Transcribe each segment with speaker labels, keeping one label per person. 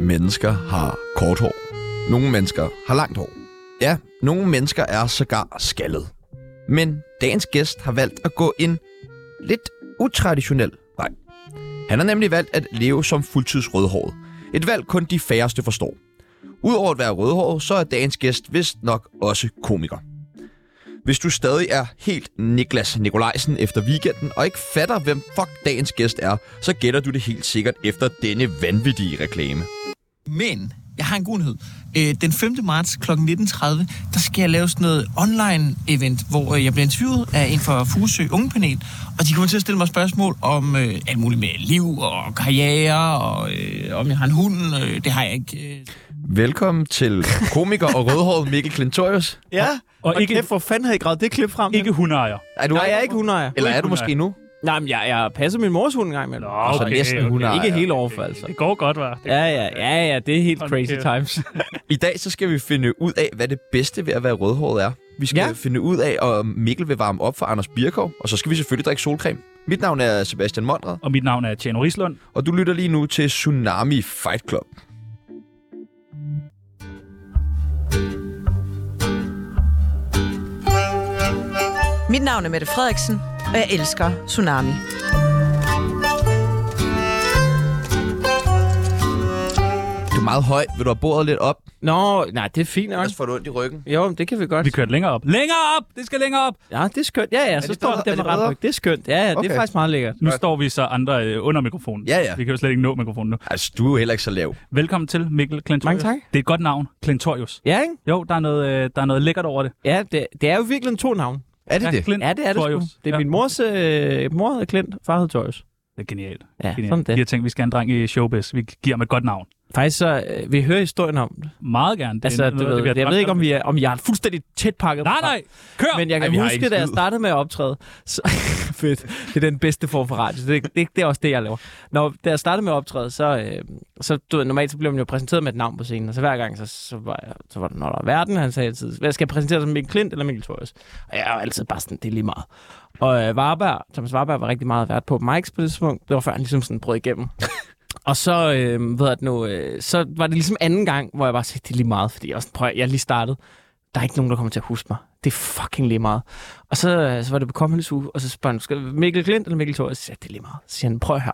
Speaker 1: mennesker har kort hår. Nogle mennesker har langt hår. Ja, nogle mennesker er sågar skaldet. Men dagens gæst har valgt at gå en lidt utraditionel vej. Han har nemlig valgt at leve som fuldtids rødhåret. Et valg kun de færreste forstår. Udover at være rødhåret, så er dagens gæst vist nok også komiker. Hvis du stadig er helt Niklas Nikolajsen efter weekenden og ikke fatter, hvem fuck dagens gæst er, så gætter du det helt sikkert efter denne vanvittige reklame.
Speaker 2: Men jeg har en god nyhed. Øh, Den 5. marts kl. 19.30, der skal jeg lave sådan noget online-event, hvor øh, jeg bliver interviewet af en fra Fusø Ungepanel, og de kommer til at stille mig spørgsmål om øh, alt muligt med liv og karriere, og øh, om jeg har en hund, øh, det har jeg ikke. øh.
Speaker 1: Velkommen til komiker og rødhåret Mikkel Klintorius.
Speaker 3: Ja,
Speaker 4: Og
Speaker 3: og,
Speaker 4: ikke-
Speaker 3: ikke, kæft, hvor fanden havde I gravet det klip frem?
Speaker 4: Ikke hundeejer.
Speaker 1: Er du
Speaker 3: Nej, jeg er ikke hundeejer.
Speaker 1: Eller er du måske nu?
Speaker 3: Nej, men jeg, jeg passer min mors hund engang imellem.
Speaker 4: Nå,
Speaker 1: Altså næsten hundeejer.
Speaker 3: Ikke hele overfor, altså.
Speaker 4: Det går godt, var.
Speaker 3: Ja, ja, ja, ja, det er helt
Speaker 4: Hold
Speaker 3: crazy
Speaker 4: kæft.
Speaker 3: times.
Speaker 1: I dag så skal vi finde ud af, hvad det bedste ved at være rødhåret er. Vi skal ja.
Speaker 3: Ja.
Speaker 1: finde ud af, om Mikkel vil varme op for Anders Birkov, og så skal vi selvfølgelig drikke solcreme. Mit navn er Sebastian Mondrad,
Speaker 4: Og mit navn er Tjano Rislund.
Speaker 1: og du lytter lige nu til Tsunami Fight Club.
Speaker 5: Mit navn er Mette Frederiksen, og jeg elsker Tsunami.
Speaker 1: Du er meget høj. Vil du have bordet lidt op?
Speaker 3: Nå, nej, det er fint nok.
Speaker 1: Ellers får du ondt i ryggen.
Speaker 3: Jo, men det kan vi godt.
Speaker 4: Vi kørte længere op. Længere op! Det skal længere op!
Speaker 3: Ja, det er skønt. Ja, ja, så
Speaker 1: det
Speaker 3: står
Speaker 1: bedre?
Speaker 3: der
Speaker 1: Er
Speaker 3: med
Speaker 1: det bedre?
Speaker 3: ret ryg. Det er skønt. Ja, ja, det
Speaker 1: Okay.
Speaker 3: er faktisk meget lækkert.
Speaker 4: Nu
Speaker 1: Godt.
Speaker 4: står vi så andre øh, under mikrofonen.
Speaker 1: Ja, ja.
Speaker 4: Vi kan jo slet ikke nå mikrofonen nu.
Speaker 1: Altså, du er jo heller ikke så lav.
Speaker 4: Velkommen til, Mikkel Klintorius.
Speaker 3: Mange tak.
Speaker 4: Det er et godt navn, Klintorius.
Speaker 3: Ja, ikke?
Speaker 4: Jo, der er noget, øh, der er noget lækkert over det.
Speaker 3: Ja, det, det er jo virkelig en to navn.
Speaker 1: Er det det?
Speaker 4: Clint
Speaker 3: Ja, det er det
Speaker 4: Torius.
Speaker 3: sgu. Det er
Speaker 4: Ja.
Speaker 3: min mors... Øh, mor hedder Klint, far hedder Torius.
Speaker 4: Det er genialt.
Speaker 3: Ja,
Speaker 4: genialt.
Speaker 3: sådan
Speaker 4: Vi har
Speaker 3: det.
Speaker 4: tænkt, at vi skal have en dreng i showbiz. Vi giver ham et godt navn.
Speaker 3: Faktisk så, øh, vi hører historien om det.
Speaker 4: Meget gerne. Det er
Speaker 3: Altså,
Speaker 4: noget,
Speaker 3: du
Speaker 4: af det, vi
Speaker 3: ved,
Speaker 4: har
Speaker 3: jeg ved
Speaker 4: drømt
Speaker 3: ikke, om, vi er, om jeg er fuldstændig tæt pakket.
Speaker 4: Nej, nej. Kør!
Speaker 3: Men jeg
Speaker 1: Ej,
Speaker 3: kan
Speaker 1: vi har
Speaker 3: Ej,
Speaker 1: ikke en
Speaker 3: huske, da jeg
Speaker 1: skid.
Speaker 3: startede med at optræde. Så, fedt. Det er den bedste form for radio. Det, det, det er også det, jeg laver. Når, da jeg startede med at optræde, så, øh, så du ved, normalt så blev man jo præsenteret med et navn på scenen. Og så hver gang, så, så, var, jeg, så var der noget af verden. Han sagde altid, hvad skal jeg præsentere som Mikkel Klint eller Mikkel Torres? Og jeg var altid bare sådan, det er lige meget. Og øh, Varberg, Thomas Varberg var rigtig meget vært på Mike's på det tidspunkt. Det var før han ligesom sådan brød igennem. Og så, øh, ved jeg nu, øh, så var det ligesom anden gang, hvor jeg bare sagde, det er lige meget, fordi jeg, var sådan, prøv, at- jeg er lige startede. Der er ikke nogen, der kommer til at huske mig. Det er fucking lige meget. Og så, øh, så var det på Comedy Zoo, og så spørger han, skal det være Mikkel Klint eller Mikkel Thor? Og så siger jeg, det er lige meget. Så siger han, prøv her.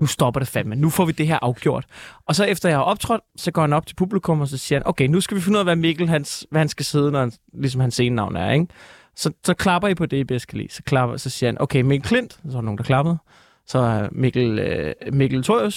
Speaker 3: Nu stopper det fandme. Nu får vi det her afgjort. Og så efter jeg har optrådt, så går han op til publikum, og så siger han, okay, nu skal vi finde ud af, hvad Mikkel, hans, hvad han skal sidde, når han, ligesom hans scenenavn er, ikke? Så, så klapper I på det, I bedst kan lide. Så, klapper, så siger han, okay, Mikkel Klint. Så var der nogen, der klappede. Så er Mikkel, øh, Mikkel Thorius.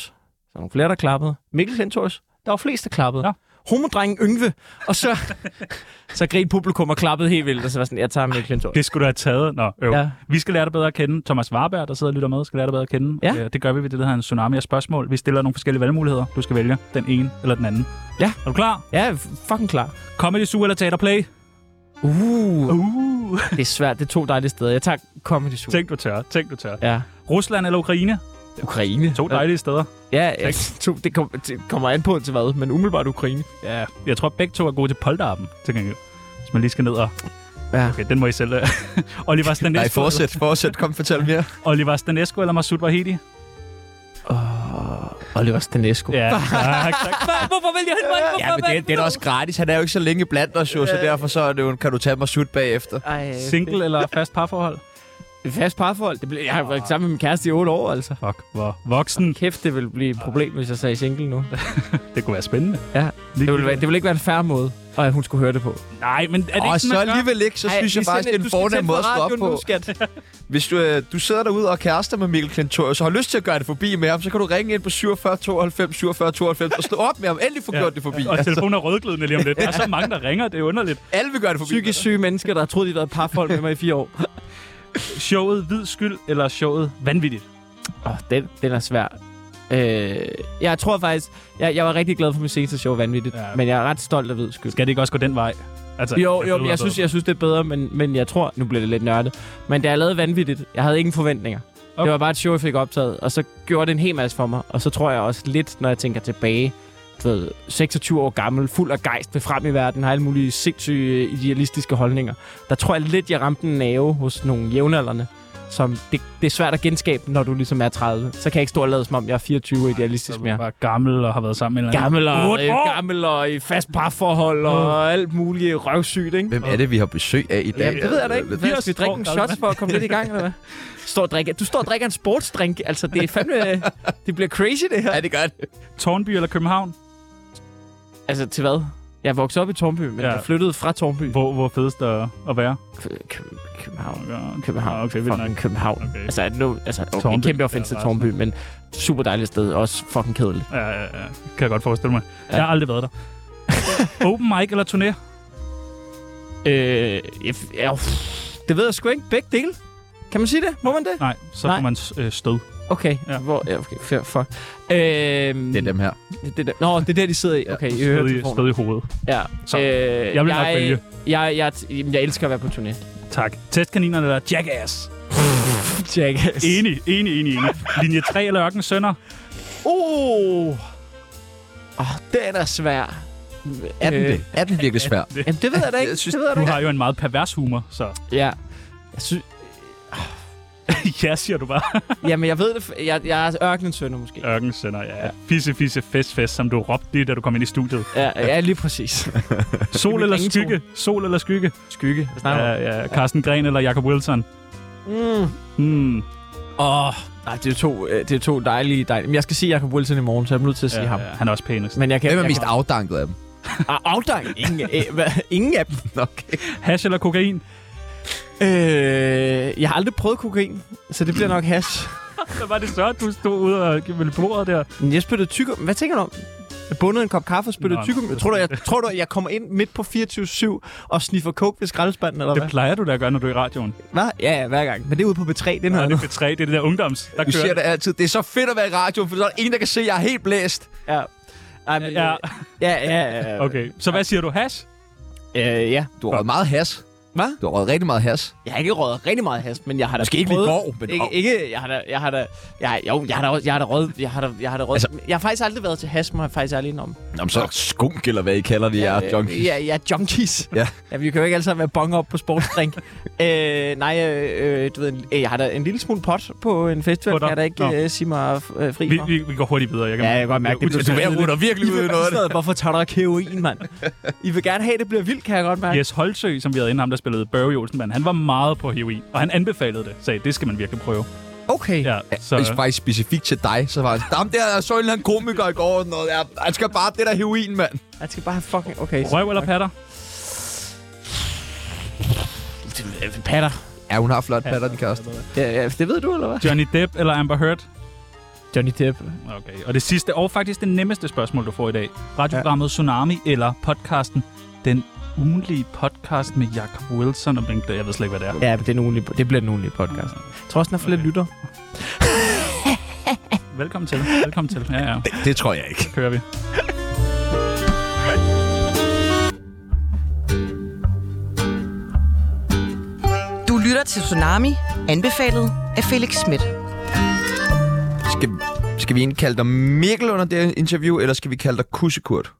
Speaker 3: Så var der nogle flere, der klappede. Mikkel Klint Thorius. Der var flest, der klappede.
Speaker 4: Ja.
Speaker 3: Ja. Homodrengen Yngve. Og så, så grinede publikum og klappede helt vildt, og så var sådan, jeg tager Mikkel Klint Thorius.
Speaker 4: Det skulle du have taget. Nå, øv. Ja.
Speaker 3: Ja.
Speaker 4: Vi skal lære dig bedre at kende. Thomas Warberg, der sidder og lytter med, skal lære dig bedre at kende.
Speaker 3: Ja.
Speaker 4: Øh, Det gør vi ved det, der hedder en tsunami af spørgsmål. Vi stiller nogle forskellige valgmuligheder. Du skal vælge den ene eller den anden.
Speaker 3: Ja.
Speaker 4: Er du klar?
Speaker 3: Jeg er fucking klar.
Speaker 4: Comedy Zoo eller Teater Play?
Speaker 3: Uh,
Speaker 4: Uh.
Speaker 3: det er svært. Det er to dejlige steder. Jeg tager Comedy Zoo.
Speaker 4: Tænk du tør. Tænk du tør.
Speaker 3: Ja.
Speaker 4: Rusland eller Ukraine?
Speaker 3: Ukraine.
Speaker 4: To dejlige steder.
Speaker 3: Ja, ja to, det, kom, det kommer an på til hvad, men umiddelbart Ukraine.
Speaker 4: Ja. Jeg tror, begge to er gode til polterappen, til gengæld. Hvis man lige skal ned og...
Speaker 3: Ja.
Speaker 4: Okay, den må I selv... øh. Oliver
Speaker 1: Nej,
Speaker 4: Stanesco,
Speaker 1: fortsæt, fortsæt. Kom, fortæl mere.
Speaker 4: Oliver Stanesco eller Masoud Vahedi?
Speaker 3: Oh, Oliver Stanesco.
Speaker 4: Ja, tak, tak. Hvorfor vælger jeg hende? Hvorfor
Speaker 1: Ja, men det, det er da også gratis. Han er jo ikke så længe blandt os, jo, så derfor så er det jo, kan du tage mig sut bagefter.
Speaker 3: Ej,
Speaker 4: Single eller fast parforhold?
Speaker 3: Det, fast parforhold. Det blev, jeg har
Speaker 1: Ah.
Speaker 3: været sammen med min kæreste i otte år, altså.
Speaker 4: Fuck, hvor voksen.
Speaker 3: Kæft, det ville blive et problem, hvis jeg sagde single nu.
Speaker 4: Det kunne være spændende.
Speaker 3: Ja,
Speaker 4: Lige-
Speaker 3: det ville, være, det ville ikke være en færre måde, og at hun skulle høre det på.
Speaker 4: Nej, men er det ikke
Speaker 1: Og så
Speaker 4: sådan, man gør?
Speaker 1: alligevel ikke, så synes jeg faktisk, det er en fornem måde at stå op på. Hvis du, øh, du sidder derude og er kærester med Mikkel Klintorius og har lyst til at gøre det forbi med ham, så kan du ringe ind på 47 92 47 92 og slå op med ham. Endelig få
Speaker 4: Ja.
Speaker 1: gjort det forbi.
Speaker 4: Og
Speaker 1: Altså,
Speaker 4: telefonen er rødglødende lige om lidt. Der er så mange, der ringer. Det er underligt.
Speaker 1: alle vil gøre det forbi.
Speaker 3: Psykisk syge mennesker, der har troet, de har været parforhold med mig i fire år.
Speaker 4: Showet Hvid Skyld eller showet Vanvittigt?
Speaker 3: Åh, den, den er svær. Øh, jeg tror faktisk, jeg, jeg var rigtig glad for mit seneste show, vanvittigt.
Speaker 4: Ja.
Speaker 3: Ja. Men jeg er ret stolt af hvid skyld.
Speaker 4: Skal det ikke også gå den vej? Altså,
Speaker 3: Jo,
Speaker 4: det
Speaker 3: jo,
Speaker 4: lyder
Speaker 3: men jeg synes,
Speaker 4: bedre.
Speaker 3: jeg synes, det er bedre, men, men jeg tror, nu bliver det lidt nørdet. Men da jeg lavede vanvittigt, jeg havde ingen forventninger. Okay.
Speaker 4: Okay.
Speaker 3: Det var bare et show, jeg fik optaget, og så gjorde det en hel masse for mig. Og så tror jeg også lidt, når jeg tænker tilbage, du ved, 26 år gammel, fuld af gejst, vil frem i verden, har alle mulige sindssyge idealistiske holdninger. Der tror jeg lidt, jeg ramte en nerve hos nogle jævnaldrende, som det, det er svært at genskabe, når du ligesom er 30. Så kan jeg ikke stå og lade, som om jeg er 24 og
Speaker 4: Så
Speaker 3: idealistisk
Speaker 4: du
Speaker 3: mere.
Speaker 4: bare gammel og har været sammen med en eller
Speaker 3: Gammel og,
Speaker 4: Otte
Speaker 3: øh,
Speaker 4: år! Mm.
Speaker 3: gammel og i fast parforhold og alt muligt røvsygt, ikke?
Speaker 1: Hvem er det, vi har besøg af i dag?
Speaker 3: Ja, det ved jeg da ikke.
Speaker 1: Lidt-
Speaker 3: Vi skal vi drikke en shots for at komme lidt i gang, eller hvad? Står og drikker. Du står og drikker en sportsdrink. Altså, det er fandme... øh, det bliver crazy, det her.
Speaker 1: Ja, det gør det.
Speaker 4: anden. Tornby eller København?
Speaker 3: Altså, til hvad? Jeg voksede op i Tornby, men
Speaker 4: Ja.
Speaker 3: jeg flyttede fra Tornby.
Speaker 4: Hvor, hvor er fedest at, at være?
Speaker 3: Kø- Kø- København.
Speaker 4: Ja,
Speaker 3: København.
Speaker 4: Okay, vildt nok.
Speaker 3: fucking København.
Speaker 4: Okay.
Speaker 3: Altså, nu, altså okay,
Speaker 4: Tårnby.
Speaker 3: kæmpe offense til
Speaker 4: Ja,
Speaker 3: Tornby, men super dejligt sted. Også fucking kedeligt.
Speaker 4: Ja, ja, ja. Kan jeg godt forestille mig.
Speaker 3: Ja.
Speaker 4: Ja. Jeg har aldrig været der. Open mic eller turné?
Speaker 3: Øh, jeg, ja, uff, det ved jeg sgu ikke. Begge dele. Kan man sige det? Må man det?
Speaker 4: Nej, så
Speaker 3: Nej.
Speaker 4: får man øh, stød.
Speaker 3: Okay. Ja.
Speaker 4: Ja.
Speaker 3: Hvor, ja, okay, fair, fuck. Øhm,
Speaker 1: Det er dem her.
Speaker 3: Det, det, der. Nå, det er der, de sidder i. Okay, i
Speaker 4: Stød i,
Speaker 3: høretelefoner.
Speaker 4: stød i hovedet.
Speaker 3: Ja.
Speaker 4: Så,
Speaker 3: øh,
Speaker 4: jeg vil nok vælge.
Speaker 3: Jeg, jeg, jeg, jeg elsker at være på turné.
Speaker 4: Tak. Testkaniner eller jackass?
Speaker 3: Jackass.
Speaker 4: Enig, enig, enig, enig. Linje 3 eller Ørken Sønder?
Speaker 3: Oh. oh, den er svær.
Speaker 1: Er den det? Er den virkelig svær?
Speaker 3: Jamen, det ved jeg da ikke.
Speaker 1: Jeg synes,
Speaker 3: det ved jeg
Speaker 4: Du
Speaker 3: da ikke.
Speaker 4: har jo en meget pervers humor, så...
Speaker 3: Ja. Jeg synes,
Speaker 4: ja, siger du bare.
Speaker 3: jamen, jeg ved det. f- Jeg, jeg er ørkenens sønner, måske.
Speaker 4: Ørken Sønder, ja. Fisse, fisse, fest, fest, som du råbte lige, da du kom ind i studiet.
Speaker 3: Ja, ja lige præcis.
Speaker 4: Sol
Speaker 3: mit
Speaker 4: eller
Speaker 3: ringetone.
Speaker 4: skygge? Sol eller skygge?
Speaker 3: Skygge. Hvad snakker
Speaker 4: Ja,
Speaker 3: du
Speaker 4: ja. Carsten Gren eller Jacob Wilson?
Speaker 3: om? Mm.
Speaker 4: Hmm.
Speaker 3: Åh, oh, nej, det er to, øh, det er to dejlige, dejlige... Men jeg skal sige Jacob Wilson i morgen, så jeg er nødt til at sige ja, ham.
Speaker 4: Ja, han er også pænest.
Speaker 3: Men jeg kan...
Speaker 1: Hvem er
Speaker 3: jeg
Speaker 1: mest afdanket af dem?
Speaker 3: kan- Ah, afdang? Ingen, øh, hvad? Ingen af dem.
Speaker 1: Okay.
Speaker 4: Hash eller kokain?
Speaker 3: Øh, jeg har aldrig prøvet kokain, så det bliver nok hash.
Speaker 4: Hvad var det så, du stod ude og ville bordet der?
Speaker 3: Men jeg spyttede tykker... Hvad tænker du om? Jeg bundede en kop kaffe og spyttede
Speaker 4: Nå.
Speaker 3: tykker... Tror du, jeg, tror du, jeg kommer ind midt på 24-7 og sniffer coke ved skraldespanden, eller hvad?
Speaker 4: Det plejer du da at gøre, når du er i radioen.
Speaker 3: Hvad? Ja, ja, hver gang. Men det er ude på B3, det er
Speaker 4: Ja,
Speaker 3: noget
Speaker 4: det
Speaker 3: andet.
Speaker 4: er B3, det er det der ungdoms. Der
Speaker 1: Du
Speaker 4: kører
Speaker 1: siger det altid. Det er så fedt at være i radioen, for så er der ingen, der kan se, at jeg er helt blæst.
Speaker 3: Ja. Ej, men,
Speaker 4: Ja.
Speaker 3: ja. Ja, ja, ja.
Speaker 4: Okay, så hvad siger du? Hash?
Speaker 3: Øh, ja.
Speaker 1: Du har røget meget has.
Speaker 3: Hvad?
Speaker 1: Du har røget rigtig meget has.
Speaker 3: Jeg har ikke røget rigtig meget has, men jeg har da
Speaker 1: Måske ikke lige i
Speaker 3: prøvet...
Speaker 1: går, men...
Speaker 3: Ikke, ikke, jeg har da, jeg har da, jeg, har- jo, jeg har da, også- jeg har da røget, jeg har da, jeg har da røget. Altså, jeg har faktisk aldrig været til hash, må jeg faktisk ærlig indrømme.
Speaker 1: Jamen, så skunk, eller hvad I kalder det, jeg er junkies.
Speaker 3: Øh, Ja, ja, junkies.
Speaker 1: Ja.
Speaker 3: ja. vi kan jo ikke alle sammen være bonger op på sportsdrink. øh, nej, øh, øh, du ved, en- øh, jeg har da en lille smule pot på en
Speaker 4: På
Speaker 3: festival, kan
Speaker 4: dig?
Speaker 3: jeg da ikke
Speaker 4: Nå.
Speaker 3: øh, sige mig øh, fri
Speaker 4: Vi,
Speaker 3: for.
Speaker 4: vi, vi går hurtigt videre. Jeg kan
Speaker 3: Ja, jeg kan godt mærke det.
Speaker 4: Jeg er
Speaker 1: Du er ved at rulle dig virkelig ud i noget af det.
Speaker 3: Stedet, hvorfor tager du ikke heroin, mand? I vil gerne have, at det bliver vildt, kan jeg godt mærke.
Speaker 4: Jes Holtsø, som vi havde inden ham, der spillede Børge Olsenband, han var meget på heroin, og han anbefalede det. Sagde, det skal man virkelig prøve.
Speaker 3: Okay.
Speaker 4: Ja, så
Speaker 1: Hvis faktisk specifikt til dig, så var han... Ham der, så en eller anden komiker i går, og sådan noget. Ja, han skal bare det der heroin, mand.
Speaker 3: Jeg skal bare have fucking... Okay.
Speaker 4: røv eller patter?
Speaker 3: Patter.
Speaker 1: Ja, hun har flot patter, den kæreste.
Speaker 3: Ja, ja, det ved du, eller hvad?
Speaker 4: Johnny Depp eller Amber Heard?
Speaker 3: Johnny Depp.
Speaker 4: Okay, og det sidste, og faktisk det nemmeste spørgsmål, du får i dag. Radioprogrammet ja. Tsunami eller podcasten Den ugenlige podcast med Jacob Wilson og Bink. Jeg ved slet ikke, hvad det er.
Speaker 3: Ja, men det, er en ugenlig, det bliver den ugenlige podcast. Jeg tror også, den har flere
Speaker 4: Okay.
Speaker 3: lytter.
Speaker 4: Velkommen til. Velkommen til. Ja, ja.
Speaker 1: Det, det tror jeg ikke.
Speaker 4: Kører vi.
Speaker 5: Du lytter til Tsunami, anbefalet af Felix Schmidt.
Speaker 1: Skal, skal vi indkalde dig Mikkel under det her interview, eller skal vi kalde dig Kussekurt?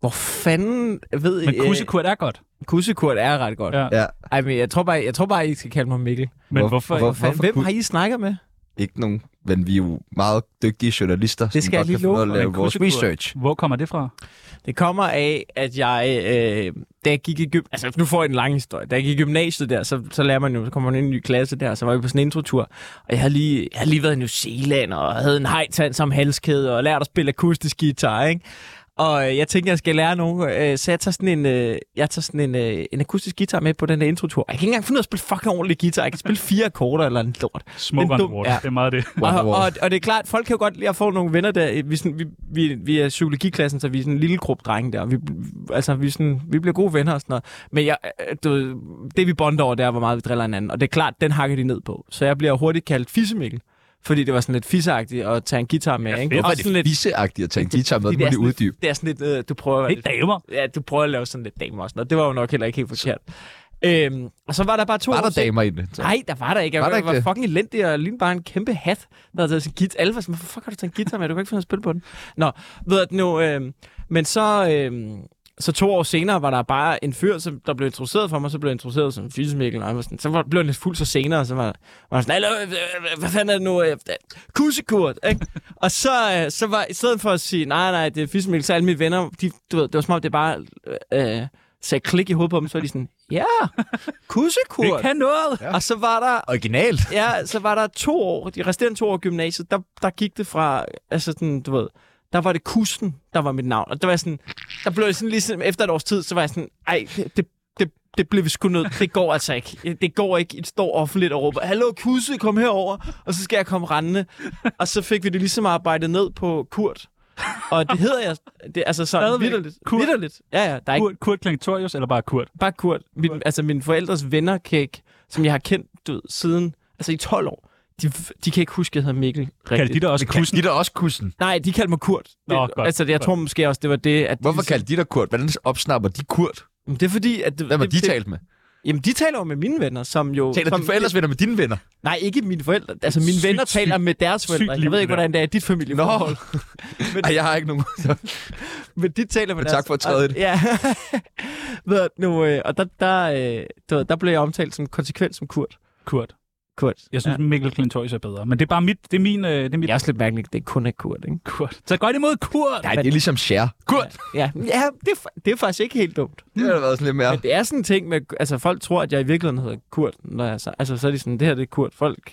Speaker 3: Hvor fanden ved
Speaker 4: Men
Speaker 3: øh,
Speaker 4: kussekurt er godt.
Speaker 3: Kussekurt er ret godt.
Speaker 4: Ja.
Speaker 1: Ja.
Speaker 3: Ej, men jeg tror bare, jeg tror bare I skal kalde mig Mikkel.
Speaker 4: Men
Speaker 1: Hvor-
Speaker 4: hvorfor?
Speaker 1: hvor-
Speaker 4: hvorfor?
Speaker 3: Hvor fanden,
Speaker 1: hvorfor
Speaker 3: hvem har I snakket med?
Speaker 1: Ikke nogen, men vi er jo meget dygtige journalister. som
Speaker 3: skal jeg
Speaker 1: godt
Speaker 3: lige
Speaker 1: kan finde ud af
Speaker 3: love
Speaker 1: at
Speaker 4: for,
Speaker 1: lave
Speaker 4: men
Speaker 1: vores
Speaker 4: Kussekurt-
Speaker 1: research.
Speaker 4: Hvor kommer det fra?
Speaker 3: Det kommer af, at jeg, øh, da jeg gik i gym... Altså, nu får jeg en lang historie. Da jeg gik i gymnasiet der, så, så lærer man jo, så kommer man ind i en ny klasse der, så var vi på sådan en introtur. Og jeg havde lige, jeg havde lige været i New Zealand, og havde en hejtand som halskæde, og lært at spille akustisk guitar, ikke? Og øh, jeg tænkte, jeg skal lære nogen, øh, så jeg tager sådan en, øh, jeg tager sådan en, øh, en akustisk guitar med på den der introtur. Jeg kan ikke engang finde ud af at spille fucking ordentlig guitar. Jeg kan spille fire akkorder eller en lort.
Speaker 4: Smoke
Speaker 3: Men
Speaker 4: on the
Speaker 3: dum-
Speaker 4: water.
Speaker 3: ja.
Speaker 4: Det er meget det.
Speaker 3: Og,
Speaker 1: Wonderwall.
Speaker 3: og, og det er klart, folk kan jo godt lide at få nogle venner der. Vi, er sådan, vi, vi, vi er psykologiklassen, så vi er sådan en lille gruppe drenge der. Vi, altså, vi, er sådan, vi bliver gode venner og sådan noget. Men jeg, øh, du, ved, det vi bonder over, det er, hvor meget vi driller hinanden. Og det er klart, den hakker de ned på. Så jeg bliver hurtigt kaldt fissemikkel. Fordi det var sådan lidt fisseagtigt at tage en guitar med. ikke?
Speaker 4: fedt.
Speaker 3: Og
Speaker 1: Hvorfor er
Speaker 3: sådan
Speaker 1: det
Speaker 3: lidt,
Speaker 1: viseagtigt at tage en guitar med?
Speaker 3: fordi
Speaker 1: Det må
Speaker 3: er
Speaker 1: lige
Speaker 3: sådan lidt-
Speaker 1: uddybe.
Speaker 3: Det er sådan lidt, øh, du prøver at være
Speaker 4: Hey,
Speaker 3: lidt
Speaker 4: damer.
Speaker 3: Ja, du prøver at lave sådan lidt damer og sådan noget. Det var jo nok heller ikke helt forkert. Øhm, og så var der bare to
Speaker 1: Var
Speaker 3: år
Speaker 1: der
Speaker 3: til-
Speaker 1: damer i det? Så-
Speaker 3: Nej, der var der ikke. Jeg
Speaker 1: altså. Var
Speaker 3: var,
Speaker 1: der
Speaker 3: der
Speaker 1: ikke
Speaker 3: var
Speaker 1: det?
Speaker 3: fucking elendig og lignede bare en kæmpe hat, der havde taget sin guitar. Alle var sådan, hvorfor fuck har du taget en guitar med? Du kan ikke finde ud af at spille på den. Nå, ved at nu, øh, men øhm, så, øh, Så to år senere var der bare en fyr, som der blev introduceret for mig, så blev jeg introduceret som fysisk og han var sådan, så var, blev han lidt fuld så senere, og så var, var han sådan, "Hallo, øh, øh, hvad fanden er det nu? øh, øh, Kusekurt, ikke? og så, øh, så var, i stedet for at sige, nej, nej, det er fysisk så alle mine venner, de, du ved, det var som om, det bare øh, øh, sagde klik i hovedet på dem, så var de sådan, ja, kusekurt.
Speaker 4: kan noget!
Speaker 3: Og så var der
Speaker 6: Originalt.
Speaker 3: ja, så var der to år, de resterende to år i gymnasiet, der, der gik det fra, altså sådan, du ved, der var det kusten, der var mit navn. Og der var jeg sådan, der blev jeg sådan ligesom efter et års tid, så var jeg sådan, ej, det, det, det, det blev vi sgu nødt. Det går altså ikke. Det går ikke. I står offentligt og råber, hallo kusse, kom herover, og så skal jeg komme rendende. Og så fik vi det ligesom arbejdet ned på Kurt. Og det hedder jeg, det, altså sådan
Speaker 4: Stadigvæk.
Speaker 3: vidderligt.
Speaker 4: Kurt.
Speaker 3: Vidderligt. Ja, ja. Der er ikke,
Speaker 4: Kurt, Kurt Klingtorius, eller bare Kurt?
Speaker 3: bare Kurt. Min, altså mine forældres venner kan ikke, som jeg har kendt du, ved, siden, altså i 12 år, de, de kan ikke huske, at jeg hedder Mikkel
Speaker 4: Kaldte de
Speaker 3: rigtigt.
Speaker 4: dig også
Speaker 6: Kussen.
Speaker 4: kussen?
Speaker 6: De der også kussen.
Speaker 3: Nej, de kaldte mig Kurt.
Speaker 4: Nå,
Speaker 3: det,
Speaker 4: godt,
Speaker 3: altså, jeg
Speaker 4: godt.
Speaker 3: tror måske også, det var det, at...
Speaker 1: Hvorfor
Speaker 3: de,
Speaker 1: kaldte de dig Kurt? Hvordan opsnapper de Kurt?
Speaker 3: Men Det er fordi, at...
Speaker 1: Hvad var
Speaker 3: det,
Speaker 1: de
Speaker 3: det-
Speaker 1: talt med?
Speaker 3: Jamen, de taler jo med mine venner, som jo...
Speaker 1: Taler
Speaker 3: som,
Speaker 1: dine forældres venner med dine venner?
Speaker 3: Nej, ikke mine forældre. Altså, mine
Speaker 4: Sygt,
Speaker 3: venner
Speaker 4: sygt,
Speaker 3: taler med deres forældre.
Speaker 4: sygt
Speaker 3: Jeg ved
Speaker 4: liv,
Speaker 3: ikke,
Speaker 4: det
Speaker 3: hvordan det er i dit familie.
Speaker 1: Nå, Ej, jeg har ikke nogen.
Speaker 3: Men de taler med
Speaker 1: Men
Speaker 3: deres...
Speaker 1: tak for at træde i det.
Speaker 3: Ja. Ved du, nu, øh, og der, der, øh, du ved, der blev jeg omtalt som konsekvent som Kurt.
Speaker 4: Kurt.
Speaker 3: Kurt.
Speaker 4: Jeg synes, ja. Mikkel Klingtorius er bedre. Men det er bare mit, det er min, øh, det er mit
Speaker 3: Det er også lidt mærkeligt, at det kun er Kurt, ikke?
Speaker 4: Kurt. Så godt imod Kurt!
Speaker 1: Nej, det er ligesom share. Kurt!
Speaker 3: Ja, ja det, er, fa- det er faktisk ikke helt dumt.
Speaker 1: Det har da været sådan lidt mere.
Speaker 3: Men det er sådan en ting med, altså folk tror, at jeg i virkeligheden hedder Kurt. Når jeg, så- altså så er de sådan, det her det er Kurt. Folk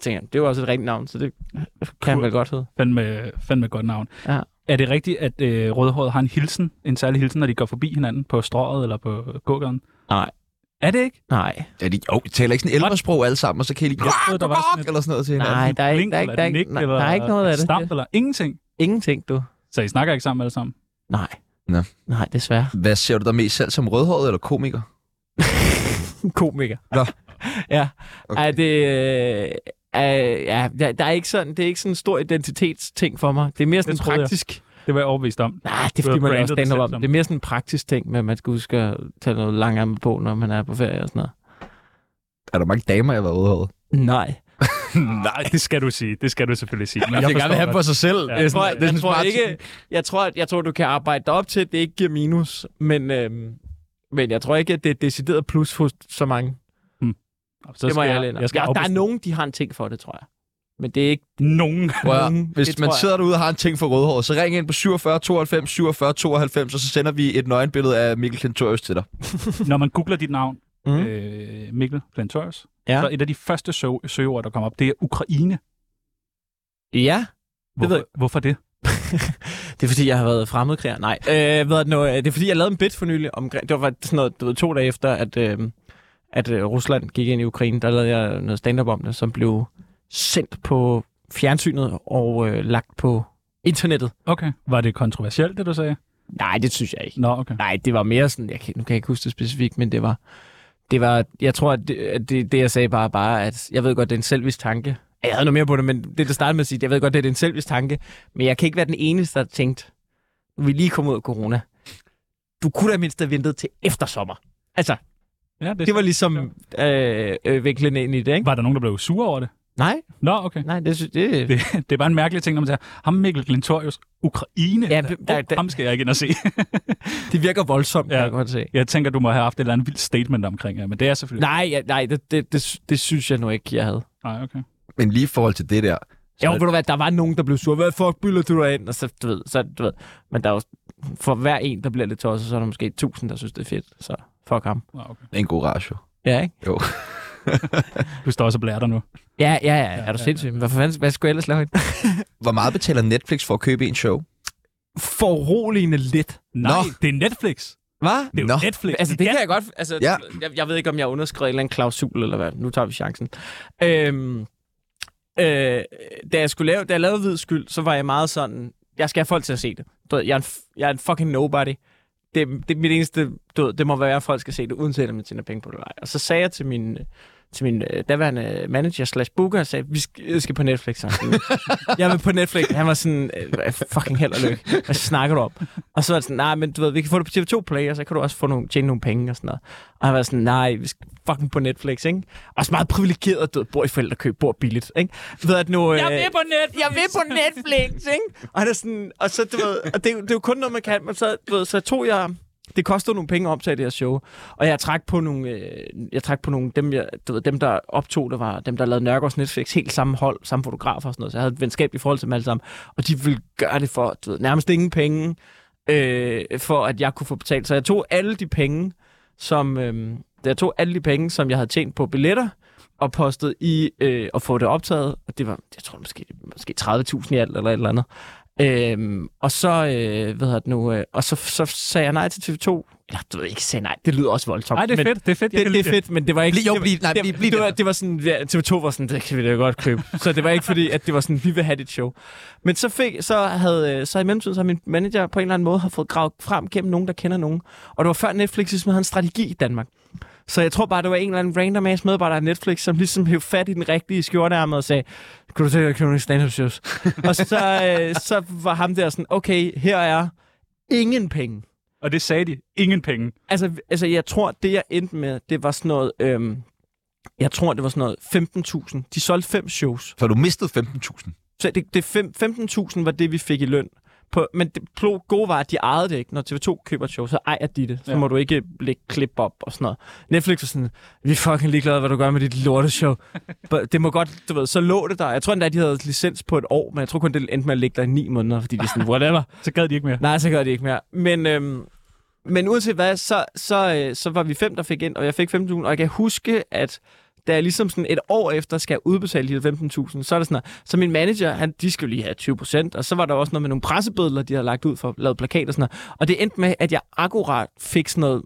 Speaker 3: tænker, det er jo også et rigtigt navn, så det kan han vel godt hedde.
Speaker 4: Fandme, fandme et godt navn.
Speaker 3: Ja.
Speaker 4: Er det rigtigt, at øh, rødhåret har en hilsen, en særlig hilsen, når de går forbi hinanden på strået eller på gågaden?
Speaker 3: Nej.
Speaker 4: Er det ikke?
Speaker 3: Nej,
Speaker 1: Ja, de, jo, de taler ikke sådan ældresprog alle sammen, og så kan I lige...
Speaker 4: Jeg troede, der var sådan et-
Speaker 1: Eller sådan noget til hinanden.
Speaker 3: nej, der er, ikke,
Speaker 4: Blink
Speaker 3: der, er ikke,
Speaker 4: eller
Speaker 3: der, er,
Speaker 4: et
Speaker 3: ikke,
Speaker 4: nik,
Speaker 3: nej, der er
Speaker 4: eller
Speaker 3: ikke noget af
Speaker 4: et
Speaker 3: det.
Speaker 4: Stamp
Speaker 3: det.
Speaker 4: eller ingenting.
Speaker 3: Ingenting, du.
Speaker 4: Så I snakker ikke sammen alle sammen?
Speaker 3: Nej.
Speaker 1: Nå.
Speaker 3: Nej, desværre.
Speaker 1: Hvad ser du dig mest selv som rødhåret eller komiker?
Speaker 3: Komiker.
Speaker 1: Nå.
Speaker 3: ja.
Speaker 1: Okay.
Speaker 3: Okay. Ej, det... Øh, øh, ja, der, der er ikke sådan, det er ikke sådan en stor identitetsting for mig. Det er mere sådan
Speaker 4: troede jeg.
Speaker 3: praktisk.
Speaker 4: Det var jeg overbevist om.
Speaker 3: Nej, det
Speaker 4: Du
Speaker 3: er fordi,
Speaker 4: har
Speaker 3: man er
Speaker 4: brandet
Speaker 3: også
Speaker 4: dig
Speaker 3: stand
Speaker 4: selv
Speaker 3: op.
Speaker 4: som-
Speaker 3: Det er mere sådan en praktisk ting med, at man skal huske at tage noget langarme på, når man er på ferie og sådan noget.
Speaker 1: Er der mange damer, jeg har været rødhåret?
Speaker 3: Mm, Nej.
Speaker 4: Nej, det skal du sige. Det skal du selvfølgelig sige. Men
Speaker 6: Jeg vil
Speaker 4: forstår
Speaker 6: gerne have
Speaker 4: godt.
Speaker 6: for sig selv.
Speaker 4: Ja.
Speaker 6: Det er
Speaker 3: Jeg tror, jeg,
Speaker 6: sådan- det
Speaker 3: jeg,
Speaker 6: er sådan
Speaker 3: tror
Speaker 6: smart
Speaker 3: ikke, jeg, tror, at, jeg tror, du kan arbejde dig op til, at det ikke giver minus. Men, øhm, men jeg tror ikke, at det er decideret plus for så mange.
Speaker 4: Så
Speaker 3: det må
Speaker 4: skal
Speaker 3: jeg,
Speaker 4: jeg, jeg skal
Speaker 3: ja, Der er
Speaker 4: afbestille.
Speaker 3: nogen, de har en ting for det, tror jeg. Men det er ikke...
Speaker 4: nogen.
Speaker 1: Prøv at,
Speaker 3: Mm,
Speaker 1: hvis
Speaker 3: det
Speaker 1: man
Speaker 3: tror jeg.
Speaker 1: sidder derude og har en ting for rødhåret, så ring ind på 47 92 47 92, og så sender vi et nøgenbillede af Mikkel Klintorius til dig.
Speaker 4: Når man googler dit navn,
Speaker 3: Mm.
Speaker 4: øh, Mikkel Plantorius,
Speaker 3: Ja.
Speaker 4: så er et af de første sø- søgeord, der kommer op, det er Ukraine.
Speaker 3: Ja,
Speaker 4: Hvorfor
Speaker 3: ved
Speaker 4: det?
Speaker 3: jeg.
Speaker 4: Hvorfor det?
Speaker 3: det er fordi, jeg har været fremmedkriger. Nej, øh, ved jeg, nu, øh, det er fordi, jeg lavede en bit for nylig. Omkring, det var sådan noget, du ved, to dage efter, at, øh, at øh, Rusland gik ind i Ukraine. Der lavede jeg noget stand-up om det, som blev sendt på fjernsynet og øh, lagt på internettet.
Speaker 4: Okay. Var det kontroversielt, det du sagde?
Speaker 3: Nej, det synes jeg ikke.
Speaker 4: Nå, okay.
Speaker 3: Nej, det var mere sådan, jeg kan, nu kan jeg ikke huske det specifikt, men det var, det var jeg tror, at det, at det, det jeg sagde bare, bare, at jeg ved godt, det er en selvvis tanke. Jeg havde noget mere på det, men det, der startede med at sige, jeg ved godt, det er en selvvis tanke, men jeg kan ikke være den eneste, der tænkte, nu er vi lige kom ud af corona. Du kunne da mindst have ventet til efter sommer. Altså,
Speaker 4: Ja, det,
Speaker 3: det var ligesom øh, øh, vinklen ind i det, ikke?
Speaker 4: var der nogen, der blev sure over det?
Speaker 3: Nej,
Speaker 4: Nå, okay.
Speaker 3: nej, det synes det,
Speaker 4: Det, det er bare en mærkelig ting, når man siger, ham Mikkel Glentorius, Ukraine.
Speaker 3: Ja,
Speaker 4: der,
Speaker 3: det- der- der-
Speaker 4: ham skal jeg ikke ind og se.
Speaker 3: det virker voldsomt, ja.
Speaker 4: Ja.
Speaker 3: kan jeg godt se.
Speaker 4: jeg tænker, du må have haft et eller andet vildt statement omkring det, men det er selvfølgelig...
Speaker 3: Nej, ja, nej det, det, det, det synes jeg nu ikke, jeg havde.
Speaker 4: Nej, okay.
Speaker 1: Men lige i forhold til det der,
Speaker 3: Jo, ved du hvad, der var nogen, der blev sur. Hvad fuck bylder du dig ind? Og så, du ved, så, du ved. Men der er jo, for hver en, der bliver lidt tosset, så er der måske tusind, der synes, det er fedt. Så fuck ham.
Speaker 4: Nå, okay.
Speaker 1: det er en god ratio.
Speaker 3: Ja, ikke?
Speaker 4: Du står også og blærer dig nu.
Speaker 3: Ja, ja, ja. Er du sindssyg? Hvad, fanden, hvad skulle jeg ellers lave?
Speaker 1: Hvor meget betaler Netflix for at købe en show?
Speaker 3: Foruroligende lidt.
Speaker 4: Nej,
Speaker 1: Nå.
Speaker 4: det er Netflix.
Speaker 3: Hvad?
Speaker 4: Det er
Speaker 1: Nå.
Speaker 4: jo Netflix.
Speaker 3: Altså, det kan jeg godt... Altså,
Speaker 1: Ja.
Speaker 3: ja. jeg, jeg ved ikke, om jeg underskrev en eller anden klausul, eller hvad. Nu tager vi chancen. Øhm, øh, da, jeg skulle lave, da jeg lavede Hvid Skyld, så var jeg meget sådan... Jeg skal have folk til at se det. Du ved, jeg, er en, f- jeg er en fucking nobody. Det, det er mit eneste... Du ved, det må være, at folk skal se det, uanset om jeg tjener penge på det eller ej. Og så sagde jeg til min til min øh, daværende manager slash booker, og sagde, vi skal, jeg skal på Netflix. Og sådan, jeg vil på Netflix. Han var sådan, øh, fucking held og lykke. Hvad snakker du om? Og så var det sådan, nej, men du ved, vi kan få det på TV2 Play, og så kan du også få nogle, tjene nogle penge og sådan noget. Og han var sådan, nej, vi skal, fucking på Netflix, ikke? Også meget privilegeret død, bor i forældrekøb, bor billigt, ikke? Ved at nu, øh,
Speaker 4: Jeg vil på net!
Speaker 3: jeg vil på Netflix, ikke? Og, han er sådan, og, så, du ved, og det, er jo- det er jo kun noget, man kan. Men så, du ved, så tog jeg... Det kostede nogle penge at optage det her show. Og jeg trak på nogle... Øh, jeg trak på nogle dem, jeg, du ved, dem, der optog det, var dem, der lavede Nørgaards Netflix. Helt samme hold, samme fotografer og sådan noget. Så jeg havde et venskabeligt forhold til dem alle sammen. Og de ville gøre det for du ved, nærmest ingen penge, øh, for at jeg kunne få betalt. Så jeg tog alle de penge, som... Øh, jeg tog alle de penge, som jeg havde tjent på billetter, og postet i øh, at få det optaget. Og det var, jeg tror måske, måske 30.000 i alt eller et eller andet. Øhm, og så, øh, hvad hedder det nu, øh, og så, så sagde jeg nej til TV2. Eller, du ved ikke, sagde nej. Det lyder også voldsomt.
Speaker 4: Nej, det er
Speaker 3: men,
Speaker 4: fedt, det er fedt. Jeg
Speaker 3: Det,
Speaker 4: kan
Speaker 3: det
Speaker 4: lide
Speaker 3: er fedt, men det var ikke...
Speaker 1: Bliv- jo,
Speaker 3: det var-
Speaker 1: bliv- nej,
Speaker 3: det-
Speaker 1: bliv- bliv
Speaker 3: det,
Speaker 1: der.
Speaker 3: var, det var sådan, ja, TV2 var sådan, det kan vi da godt købe. Så det var ikke fordi, at det var sådan, vi vil have dit show. Men så, fik, så, havde, øh, så i mellemtiden, så har min manager på en eller anden måde har fået gravet frem gennem nogen, der kender nogen. Og det var før Netflix ligesom havde en strategi i Danmark. Så jeg tror bare, det var en eller anden random ass medarbejder af Netflix, som ligesom hævde fat i den rigtige skjortearme og sagde, kunne du tænke dig at købe nogle stand-up shows? og så, øh, så var ham der sådan, okay, her er ingen penge.
Speaker 4: det. Og det sagde de. Ingen penge.
Speaker 3: Altså, altså jeg tror, det jeg endte med, det var sådan noget... Øhm, jeg tror, det var sådan noget 15.000. De solgte fem shows.
Speaker 1: Så du mistede 15.000.
Speaker 3: Så det, det fem, 15.000 var det, vi fik i løn. På, men det plo- gode var, at de ejede det ikke. Når TV2 køber et show, så ejer de det. Så
Speaker 4: Ja.
Speaker 3: ja. må du ikke lægge klip op og sådan noget. Netflix var sådan, vi er fucking ligeglade, hvad du gør med dit lorteshow. But det må godt, du ved, så lå det der. Jeg tror endda, de havde licens på et år, men jeg tror kun, det endte med at ligge der i ni måneder, fordi de sådan, whatever.
Speaker 4: Så gad de ikke mere.
Speaker 3: Nej, så gør de ikke mere. Men, øhm, men uanset hvad, så, så, øh, så var vi fem, der fik ind, og jeg fik 15.000, og jeg kan huske, at da jeg ligesom sådan et år efter skal udbetale de her 15.000, så er det sådan, at, så min manager, han, de skulle lige have 20%, og så var der også noget med nogle pressebilleder, de havde lagt ud for lavet plakater og sådan noget. Og det endte med, at jeg akkurat fik sådan noget,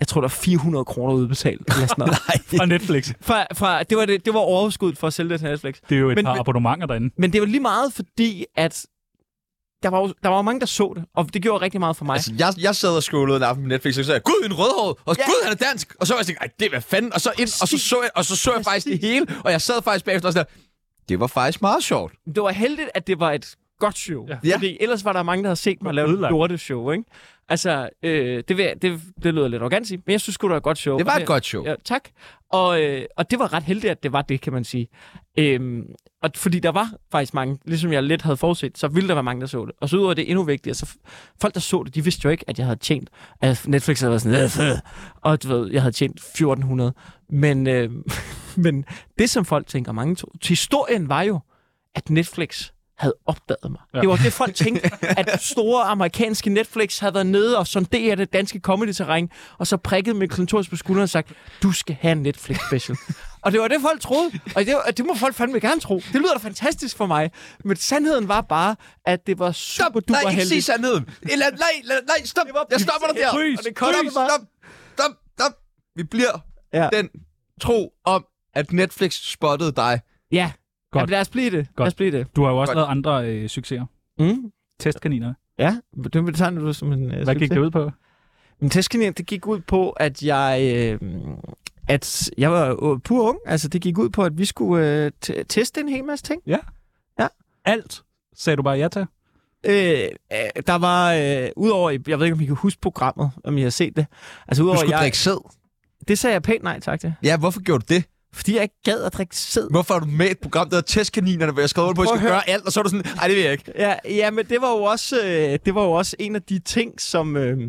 Speaker 3: jeg tror, der var 400 kroner udbetalt. Eller sådan noget.
Speaker 4: Fra Netflix.
Speaker 3: fra, fra, det, var det, det var overskuddet for at sælge det til Netflix.
Speaker 4: Det er jo et
Speaker 3: Men-
Speaker 4: par
Speaker 3: men-
Speaker 4: abonnementer derinde.
Speaker 3: Men det var lige meget, fordi at der var, jo, der var jo mange, der så det, og det gjorde rigtig meget for mig.
Speaker 1: Altså, jeg, jeg sad og scrollede en aften på Netflix, og så sagde jeg, gud, en rødhåret, og gud, han er dansk. Og så var jeg sådan, ej, det er hvad fanden. Og så, ind, og så, så, jeg, og så så jeg faktisk det hele, og jeg sad faktisk bagefter og sådan der, det var faktisk meget sjovt.
Speaker 3: det var heldigt, at det var et godt show.
Speaker 4: Ja.
Speaker 3: Ja. Fordi ellers var der mange, der havde set mig lave et
Speaker 4: Ødelagt.
Speaker 3: lortet show, ikke? Altså, øh, det, vil, jeg- det, det lyder lidt arrogant at sige, men jeg synes sgu, det var et godt show.
Speaker 1: Det var
Speaker 3: Og
Speaker 1: et godt show.
Speaker 3: Ja, tak. Og, øh, og det var ret heldigt, at det var det, kan man sige. Øhm, og fordi der var faktisk mange, ligesom jeg lidt havde forudset, så ville der være mange, der så det. Og så udover det endnu vigtigere, så f- folk, der så det, de vidste jo ikke, at jeg havde tjent, at Netflix havde været sådan, "Øh, fed." og du ved, jeg havde tjent 1400. Men, øh, men det, som folk tænker, mange to, historien var jo, at Netflix havde opdaget mig.
Speaker 4: Ja.
Speaker 3: Ja. Det var det, folk tænkte, at store amerikanske Netflix havde været nede og sonderet det danske comedy-terræn, og så prikket med Klintorius på skulderen og sagt, du skal have en Netflix-special. og det var det, folk troede, og det, var, det må folk fandme gerne tro. Det lyder da fantastisk for mig, men sandheden var bare, at det var super
Speaker 1: Stop, nej,
Speaker 3: duper
Speaker 1: ikke sige
Speaker 3: heldigt.
Speaker 1: sandheden. Eller, nej, nej, nej, stop. Jeg stopper dig der.
Speaker 3: Frys,
Speaker 1: Og det kommer-
Speaker 3: frys.
Speaker 1: Stop, stop, stop. Vi bliver
Speaker 3: Ja.
Speaker 1: den tro om, at Netflix spottede dig.
Speaker 3: Ja,
Speaker 4: Godt.
Speaker 3: Godt. Jamen, lad os blive det. Lad os
Speaker 4: Godt.
Speaker 3: blive det.
Speaker 4: Du har jo også
Speaker 1: Godt.
Speaker 4: lavet andre øh, succeser.
Speaker 3: Mm.
Speaker 4: Testkaniner.
Speaker 3: Ja, det betegner du som en... øh,
Speaker 4: Hvad gik det ud på?
Speaker 3: Men testkaninen, det gik ud på, at jeg... Øh, at jeg var øh, pur ung. Altså, det gik ud på, at vi skulle øh, t- teste en hel masse ting.
Speaker 4: Alt sagde du bare ja til.
Speaker 3: Øh, øh, der var... Øh, udover... Jeg ved ikke, om I kan huske programmet, om I har set det. Altså,
Speaker 1: Du
Speaker 3: udover...
Speaker 1: skulle
Speaker 3: jeg,
Speaker 1: drikke sæd.
Speaker 3: Det sagde jeg pænt nej tak til.
Speaker 1: Ja, hvorfor gjorde du det?
Speaker 3: Fordi jeg ikke gad at drikke sæd.
Speaker 1: Hvorfor er du med i et program, der hedder Testkaninerne, hvor jeg skrev under på, at I
Speaker 3: Prøv at
Speaker 1: skal gøre alt, og så er du sådan, nej, det vil jeg ikke.
Speaker 3: Ja, ja, men det var jo også, øh, det var jo også en af de ting, som... Øh,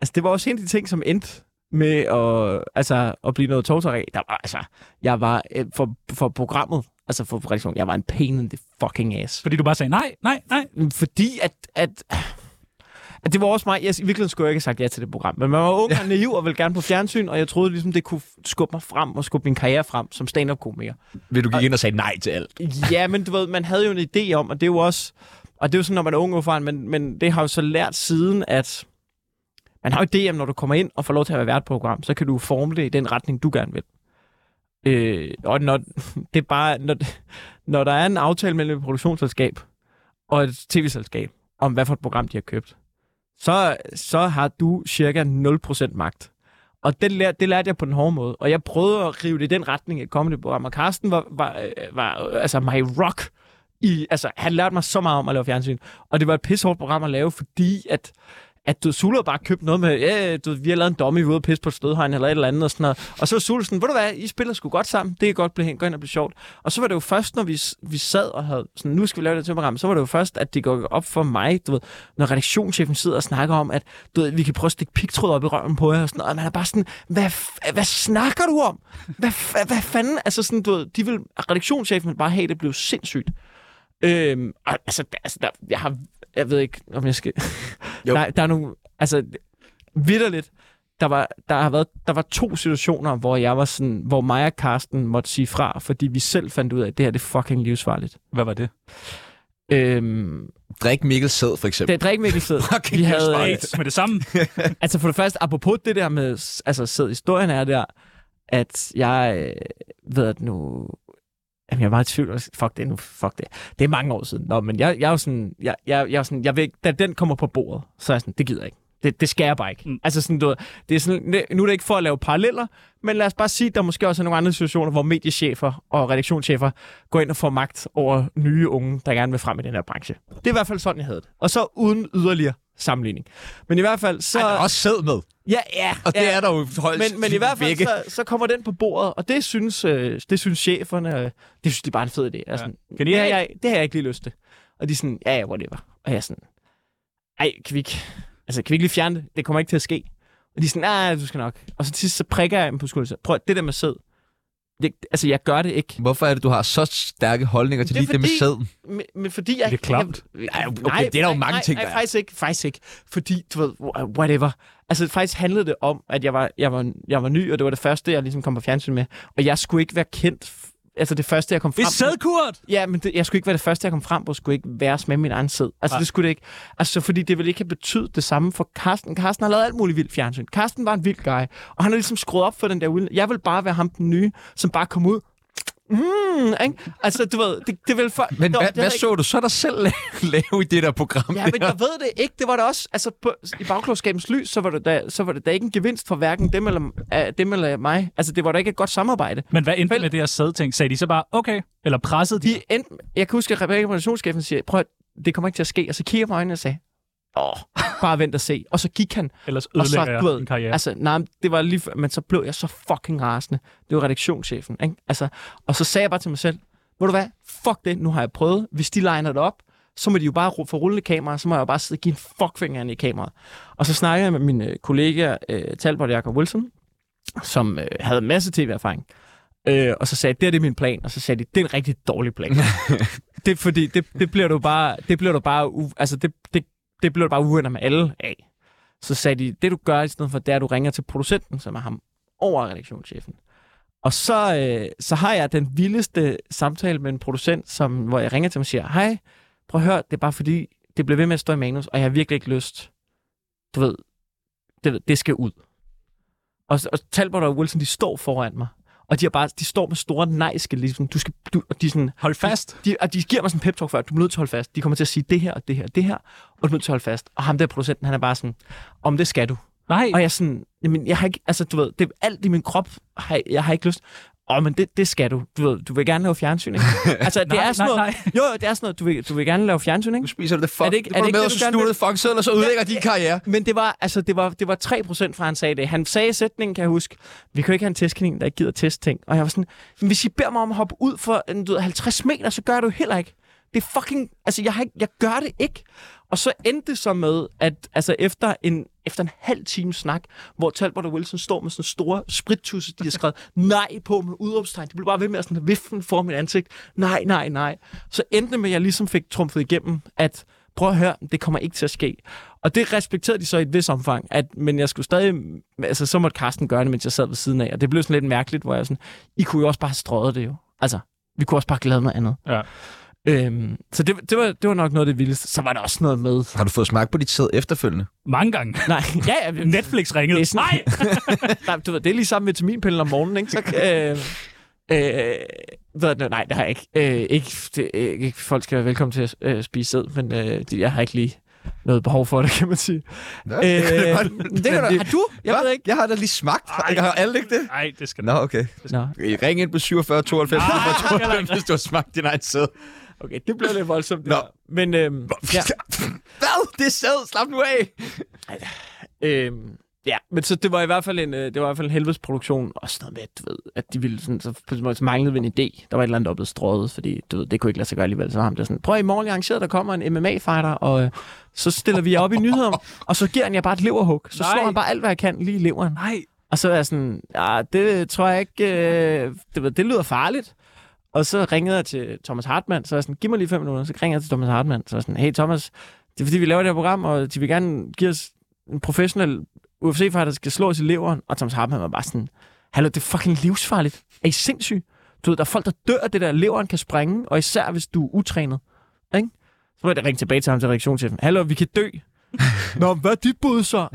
Speaker 3: altså, det var også en af de ting, som endte med at, altså, at blive noget tovtøj. Der var, altså, jeg var øh, for, for programmet, altså for redaktionen, jeg var en pain in the fucking ass.
Speaker 4: Fordi du bare sagde nej, nej, nej.
Speaker 3: Fordi at, at, at det var også mig. Jeg, I virkeligheden skulle jeg ikke have sagt ja til det program. Men man var ung og naiv og ville gerne på fjernsyn, og jeg troede ligesom, det kunne skubbe mig frem og skubbe min karriere frem som stand-up-komiker.
Speaker 1: Vil du gik ind og sagde nej til alt?
Speaker 3: Ja, men du ved, man havde jo en idé om, og det er jo også... Og det er jo sådan, når man er ung og erfaren, men, men det har jo så lært siden, at man har jo idé om, når du kommer ind og får lov til at være vært på et program, så kan du forme det i den retning, du gerne vil. Øh, og når, det er bare, når, når der er en aftale mellem et produktionsselskab og et tv-selskab om, hvad for et program de har købt, så, så har du cirka 0% magt. Og det, lær, det lærte jeg på den hårde måde. Og jeg prøvede at rive det i den retning, jeg kom det på. Og Carsten var, var, øh, var øh, altså my rock. I, altså, han lærte mig så meget om at lave fjernsyn. Og det var et pissehårdt program at lave, fordi at, at du Sule har bare købt noget med, ja, du, ved, vi har lavet en dummy, vi er ude og pisse på et stødhegn eller et eller andet og sådan noget. Og så var Sule sådan, ved du hvad, I spiller sgu godt sammen, det kan godt blive, gå ind og blive sjovt. Og så var det jo først, når vi, s- vi sad og havde, sådan, nu skal vi lave det til program, så var det jo først, at det går op for mig, du ved, når redaktionschefen sidder og snakker om, at du ved, vi kan prøve at stikke pigtråd op i røven på jer og sådan noget, og man er bare sådan, hvad, f- hvad snakker du om? Hvad, f- hvad fanden? Altså sådan, du ved, de vil, redaktionschefen vil bare have, at det blev sindssygt. Øhm, og, altså, der, altså der, jeg har, jeg ved ikke, om jeg skal...
Speaker 1: Jo.
Speaker 3: Der, der er nogle, altså, vidderligt, der var, der, har været, der var to situationer, hvor jeg var sådan, hvor mig og Karsten måtte sige fra, fordi vi selv fandt ud af, at det her det er fucking livsfarligt.
Speaker 4: Hvad var det?
Speaker 3: Øhm,
Speaker 1: Drik Mikkel Sæd, for eksempel.
Speaker 3: det er drikmikkelset.
Speaker 1: Fucking
Speaker 3: Vi havde,
Speaker 1: livsfarligt.
Speaker 3: øh,
Speaker 4: AIDS med det samme.
Speaker 3: altså for det første, apropos det der med, s- altså sæd historien er der, at jeg øh, ved at nu, jamen jeg var i tvivl, også. fuck det nu, fuck det, det er mange år siden, Nå, men jeg, jeg er jo sådan, jeg, jeg, jeg er jo sådan, jeg ved ikke, da den kommer på bordet, så er jeg sådan, det gider jeg ikke. Det, det skal jeg bare ikke.
Speaker 4: Mm.
Speaker 3: Mm. Altså sådan, du, ved, det er sådan, ne- nu er det ikke for at lave paralleller, men lad os bare sige, at der måske også er nogle andre situationer, hvor mediechefer og redaktionschefer går ind og får magt over nye unge, der gerne vil frem i den her branche. Det er i hvert fald sådan, jeg havde det. Og så uden yderligere sammenligning. Men i hvert fald så...
Speaker 1: Ej, der er også sæd med.
Speaker 3: Ja, ja.
Speaker 1: Og det
Speaker 3: ja.
Speaker 1: er der jo højst
Speaker 3: men, men i hvert fald,
Speaker 1: begge.
Speaker 3: så, så kommer den på bordet, og det synes, øh, det synes cheferne, øh, det synes de er bare en fed idé. Jeg er sådan, ja.
Speaker 4: Kan I
Speaker 3: det, har
Speaker 4: ikke-
Speaker 3: jeg, det har jeg ikke lige lyst til. Og de er sådan, ja, ja, whatever. Og jeg er sådan, ej, kan vi ikke, altså, kan vi ikke lige fjerne det? Det kommer ikke til at ske. Og de er sådan, nej, du skal nok. Og så til sidst, så prikker jeg dem på skulderen. og siger, Prøv at- det der med sæd. Det, altså, jeg gør det ikke.
Speaker 1: Hvorfor er det, du har så stærke holdninger til
Speaker 3: Det er
Speaker 1: lige det med
Speaker 3: fordi-
Speaker 1: sæden?
Speaker 3: Men, men fordi jeg...
Speaker 4: Det er klamt.
Speaker 3: Jeg,
Speaker 1: Ej, okay, det er der jo mange
Speaker 3: nej,
Speaker 1: ting,
Speaker 3: nej,
Speaker 1: der er.
Speaker 3: nej, faktisk ikke, faktisk ikke. Fordi, du ved, wh- whatever. Altså, faktisk handlede det om, at jeg var, jeg var, jeg var ny, og det var det første, jeg ligesom kom på fjernsyn med. Og jeg skulle ikke være kendt... f- Altså, det første, jeg kom frem...
Speaker 4: Det er sædkurt!
Speaker 3: Ja, men det, jeg skulle ikke være det første, jeg kom frem på, skulle ikke være med min egen sæd. Altså,
Speaker 4: Nej.
Speaker 3: det skulle det ikke. Altså, fordi det ville ikke have betydet det samme for Karsten. Karsten har lavet alt muligt vildt fjernsyn. Karsten var en vild guy, og han har ligesom skruet op for den der uden. Jeg vil bare være ham den nye, som bare kom ud. Mm, ikke? Altså, du ved, det, det ville for...
Speaker 1: Men
Speaker 3: Nå,
Speaker 1: hvad,
Speaker 3: det havde
Speaker 1: hvad
Speaker 3: jeg
Speaker 1: så du så dig selv la- lave i det der program?
Speaker 3: Ja,
Speaker 1: der?
Speaker 3: men jeg ved det ikke. Det var det også. Altså, på, i bagklogskabens lys, så var, det da, så var det da ikke en gevinst for hverken dem eller, uh, dem eller mig. Altså, det var da ikke et godt samarbejde.
Speaker 4: Men hvad endte med det her sædting? Sagde de så bare, okay? Eller pressede de?
Speaker 3: De endte, jeg kan huske, at Rebecca relationschefen siger, prøv at, det kommer ikke til at ske. Og så kigger jeg på øjnene og sagde, åh, bare vent og se. Og så gik han.
Speaker 4: Ellers
Speaker 3: Og så,
Speaker 4: ødelægger jeg
Speaker 3: du ved,
Speaker 4: en karriere.
Speaker 3: altså, nej, men det var lige før, men så blev jeg så fucking rasende. Det var redaktionschefen, ikke? Altså, og så sagde jeg bare til mig selv, ved du hvad, fuck det, nu har jeg prøvet. Hvis de liner det op, så må de jo bare ru- få rullende kamera, så må jeg jo bare sidde og give en fuckfinger ind i kameraet. Og så snakkede jeg med min øh, kollega øh, Talbot Jacob Wilson, som øh, havde en masse tv-erfaring. Øh, og så sagde jeg, det her det er min plan, og så sagde de, det er en rigtig dårlig plan. det er fordi, det, det bliver du bare, det bliver du bare, u, altså det, det, det bliver du bare uvenner med alle af. Så sagde de, det du gør i stedet for, det er, at du ringer til producenten, som er ham over redaktionschefen. Og så, øh, så har jeg den vildeste samtale med en producent, som, hvor jeg ringer til ham og siger, hej, prøv at høre, det er bare fordi, det bliver ved med at stå i manus, og jeg har virkelig ikke lyst. Du ved, det, det skal ud. Og, og Talbot og Wilson, de står foran mig. Og de, er bare, de står med store nejske, ligesom, du skal, du, og de er sådan,
Speaker 4: Hold fast!
Speaker 3: de, og de giver mig sådan en pep talk før, du er nødt til at holde fast. De kommer til at sige det her, og det her, og det her, og du er nødt til at holde fast. Og ham der producenten, han er bare sådan, om det skal du.
Speaker 4: Nej,
Speaker 3: Og jeg er sådan, jamen, jeg har ikke, altså du ved, det er alt i min krop, har, jeg har ikke lyst. Åh, men det, det skal du. Du ved, du vil gerne lave fjernsyn, ikke? Altså, det
Speaker 4: Nej,
Speaker 3: er
Speaker 4: nej,
Speaker 3: sådan noget, jo, jo, det er sådan noget, du vil, du vil gerne lave fjernsyn, ikke?
Speaker 1: Nu spiser du det fuck.
Speaker 3: Er det ikke-
Speaker 1: Nu
Speaker 3: er
Speaker 1: går
Speaker 3: det
Speaker 1: du med, og
Speaker 3: ikke det, du
Speaker 1: så
Speaker 3: gerne
Speaker 1: snuller
Speaker 3: vil?
Speaker 1: det fucking sæd, og så ødelægger din karriere.
Speaker 3: Men det var, altså, det var, det var 3% fra, han sagde det. Han sagde sætningen, kan jeg huske. Vi kan jo ikke have en testkanin, der ikke gider teste ting. Og jeg var sådan, "Men hvis I beder mig om at hoppe ud for en, du ved, 50 meter, så gør jeg det jo heller ikke. Det er fucking, altså jeg, har ikke, jeg gør det ikke. Og så endte det så med, at altså, efter, en, efter en halv time snak, hvor Talbot og Wilson står med sådan store sprittusse, de har skrevet nej på med udråbstegn. De blev bare ved med at sådan viften for mit ansigt. Nej, nej, nej. Så endte det med, at jeg ligesom fik trumfet igennem, at prøv at høre, det kommer ikke til at ske. Og det respekterede de så i et vis omfang, at, men jeg skulle stadig, altså så måtte Karsten gøre det, mens jeg sad ved siden af, og det blev sådan lidt mærkeligt, hvor jeg sådan, I kunne jo også bare have strøget det jo. Altså, vi kunne også bare have lavet noget andet.
Speaker 4: Ja.
Speaker 3: Øhm, så det, det, var, det var nok noget af det vildeste. Så var der også noget med...
Speaker 1: Har du fået smagt på dit sæd efterfølgende?
Speaker 4: mange gange.
Speaker 3: Nej, ja, ja, men-
Speaker 4: Netflix ringede.
Speaker 3: Det er sådan-
Speaker 4: Nej!
Speaker 3: nej, du ved, det er lige sammen vitaminpillen om morgenen, ikke? Så, øh, øh, ved, du, nej, det har jeg ikke. Øh, ikke, det, øh, ikke. Folk skal være velkommen til at øh, spise sæd, men øh, det- jeg har ikke lige noget behov for det, kan man sige.
Speaker 1: Nå,
Speaker 3: Øh, det kan du, har du? Jeg
Speaker 1: Hva?
Speaker 3: ved ikke.
Speaker 1: Jeg har da lige smagt. Har- Har alle ikke det?
Speaker 4: Nej, det skal
Speaker 1: Nå, okay.
Speaker 3: Nå.
Speaker 1: Ring ind på 47 92
Speaker 4: Ah,
Speaker 1: 92, hvis du har smagt din egen sæd.
Speaker 3: Okay, det blev lidt voldsomt. det
Speaker 1: Nå.
Speaker 3: der. Men øhm, ja,
Speaker 1: Hvad? Det er sæd. Slap nu af.
Speaker 3: øhm, ja, men så det var i hvert fald en, øh, det var i hvert fald en helvedes produktion. Også noget med, du ved, at de ville sådan, så, så, så manglede vi en idé. Der var et eller andet, der var blevet strøget, fordi du ved, det kunne ikke lade sig gøre alligevel. Så var ham der sådan, prøv i morgen, jeg arrangerer, der kommer en MMA-fighter, og øh, så stiller vi jer op i nyhederne, og så giver han jer bare et leverhug. Så
Speaker 4: Nej.
Speaker 3: Nej. slår han bare alt, hvad jeg kan lige i leveren.
Speaker 4: Nej,
Speaker 3: Og så er jeg sådan, ja, det tror jeg ikke, øh, det, var- det lyder farligt. Og så ringede jeg til Thomas Hartmann, så er jeg sådan, giv mig lige fem minutter. Så ringer jeg til Thomas Hartmann, så er jeg sådan, hey Thomas, det er fordi, vi laver det her program, og de vil gerne give os en professionel UFC-fighter, der skal slå os i leveren. Og Thomas Hartmann var bare sådan, hallo, det er fucking livsfarligt. Er I sindssyge? Du ved, der er folk, der dør af det der, leveren kan sprænge, og især hvis du er utrænet. Ikke? Så må jeg da ringe tilbage til ham til reaktionschefen. Hallo, vi kan dø. Nå, hvad er dit bud så?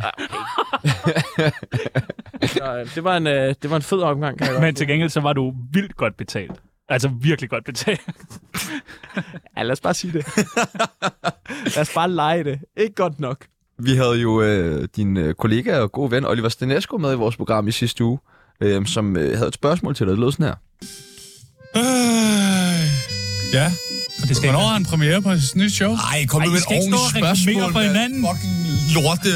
Speaker 3: Så, øh, det, var en, øh, det var en fed omgang, kan jeg godt
Speaker 4: men til gengæld så var du vildt godt betalt. Altså virkelig godt betalt.
Speaker 3: Ja, lad os bare sige det. lad os bare lege det. Ikke godt nok.
Speaker 1: Vi havde jo øh, din øh, kollega og god ven Oliver Stenesco med i vores program i sidste uge, øh, som øh, havde et spørgsmål til dig. Det lød sådan her.
Speaker 6: Øh, ja. Det skal Hvornår har han premiere på sit nye show?
Speaker 7: Ej, kom nu
Speaker 6: Ej,
Speaker 7: med
Speaker 6: I
Speaker 7: et
Speaker 6: skal ikke stå
Speaker 7: ordentligt
Speaker 6: og
Speaker 7: spørgsmål.
Speaker 6: reklamere for
Speaker 7: mand.
Speaker 6: hinanden.
Speaker 7: Fucking lorte.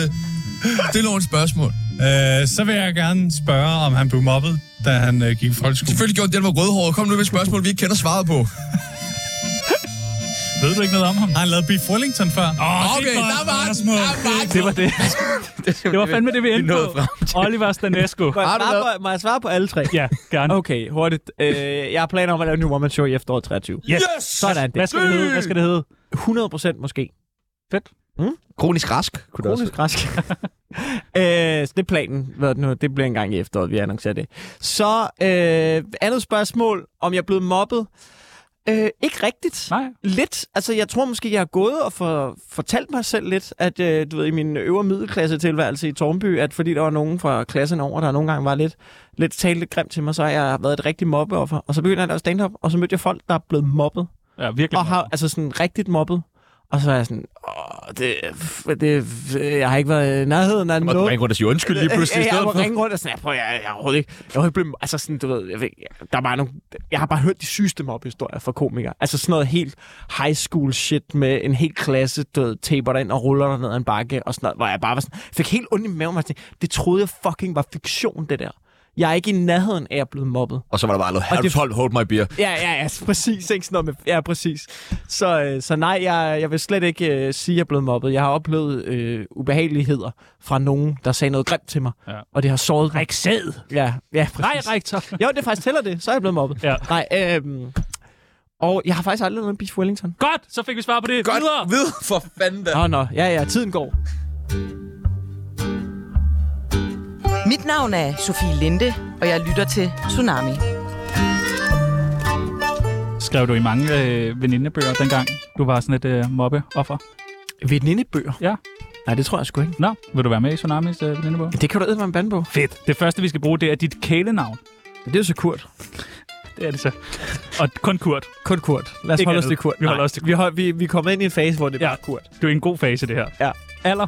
Speaker 7: Det er et spørgsmål.
Speaker 6: Øh, så vil jeg gerne spørge, om han blev mobbet, da han øh, gik i folkeskole.
Speaker 7: Selvfølgelig gjorde den var rødhåret. Kom nu med et spørgsmål, vi ikke kender svaret på.
Speaker 4: Ved du ikke noget om ham?
Speaker 6: Har han lavet Beef Wellington før?
Speaker 4: Åh,
Speaker 7: Okay, der var den.
Speaker 6: spørgsmål.
Speaker 7: Der var den.
Speaker 4: det var det. Det var fandme det, vi endte
Speaker 1: nåede
Speaker 4: på. Oliver Stanesco.
Speaker 3: Må jeg,
Speaker 1: Har du
Speaker 3: svare
Speaker 1: noget?
Speaker 3: på, må jeg svare på alle tre?
Speaker 4: Ja, gerne.
Speaker 3: Okay, hurtigt. Øh, jeg har planer om at lave en new one show i efteråret 23.
Speaker 4: Yes!
Speaker 3: Sådan
Speaker 4: Hvad
Speaker 3: det.
Speaker 4: skal det hedde? Hvad skal det hedde?
Speaker 3: 100 procent måske.
Speaker 1: Kronisk rask, kunne det også
Speaker 3: Kronisk rask. øh, så det er planen. Hvad er det nu? Det bliver en gang i efteråret, vi annoncerer det. Så øh, andet spørgsmål, om jeg er blevet mobbet. Øh, ikke rigtigt.
Speaker 4: Nej.
Speaker 3: Lidt. Altså, jeg tror måske, jeg har gået og for, fortalt mig selv lidt, at øh, du ved, i min øvre middelklasse tilværelse i Tornby, at fordi der var nogen fra klassen over, der nogle gange var lidt, lidt talte lidt grimt til mig, så har jeg været et rigtigt mobbeoffer. Og så begyndte jeg at lave stand-up, og så mødte jeg folk, der er blevet mobbet.
Speaker 4: Ja, virkelig.
Speaker 3: Og har, altså sådan rigtigt mobbet. Og så er jeg sådan, åh, det, det, jeg har ikke været i nærheden af noget.
Speaker 1: rundt og sige undskyld
Speaker 3: Ja, Øh, jeg må ringe rundt og sådan, jeg prøver, jeg, jeg, er overhovedet ikke, jeg er overhovedet ikke blevet, altså sådan, du ved, jeg, ved, der er bare nogle, jeg har bare hørt de sygeste mobbehistorier fra komikere. Altså sådan noget helt high school shit med en hel klasse, du ved, taber dig ind og ruller dig ned ad en bakke og sådan noget, hvor jeg bare var sådan, fik helt ondt i maven, og jeg tænkte, det troede jeg fucking var fiktion, det der. Jeg er ikke i nærheden af at blive mobbet.
Speaker 1: Og så var der bare noget,
Speaker 3: Og det-
Speaker 1: hold, hold my beer.
Speaker 3: Ja, ja, ja, præcis. Ikke sådan noget med, ja, præcis. Så, øh, så nej, jeg, jeg vil slet ikke øh, sige, at jeg er blevet mobbet. Jeg har oplevet øh, ubehageligheder fra nogen, der sagde noget grimt til mig.
Speaker 4: Ja.
Speaker 3: Og det har såret mig.
Speaker 4: Ræksæd!
Speaker 3: Ja, ja, præcis.
Speaker 4: Nej, rektor.
Speaker 3: Jo, det er faktisk tæller det. Så er jeg blevet mobbet.
Speaker 4: Ja.
Speaker 3: Nej, øhm, og jeg har faktisk aldrig lavet en Beef Wellington.
Speaker 4: Godt, så fik vi svar på det.
Speaker 1: Godt
Speaker 4: Videre.
Speaker 1: ved for fanden da.
Speaker 3: Nå, nå. Ja, ja, tiden går.
Speaker 5: Mit navn er Sofie Linde, og jeg lytter til Tsunami.
Speaker 4: Skrev du i mange øh, venindebøger dengang, du var sådan et øh, mobbeoffer?
Speaker 3: Venindebøger?
Speaker 4: Ja.
Speaker 3: Nej, det tror jeg sgu ikke.
Speaker 4: Nå, vil du være med i Tsunamis øh, venindebog?
Speaker 3: Det kan du æde mig en bandbog.
Speaker 4: Fedt. Det første, vi skal bruge, det er dit kælenavn.
Speaker 3: Det er jo så kurt.
Speaker 4: Det er det så. Og kun Kurt.
Speaker 3: Kun kurt. Lad os
Speaker 4: Ikke
Speaker 3: holde os
Speaker 4: andet.
Speaker 3: til kurt.
Speaker 4: Vi holder
Speaker 3: Nej.
Speaker 4: os til Kurt.
Speaker 3: Vi, hold, vi, vi kommer ind i en fase, hvor det er
Speaker 4: Ja.
Speaker 3: bare kurt.
Speaker 4: Du er i en god fase, det her.
Speaker 3: Ja.
Speaker 4: Alder?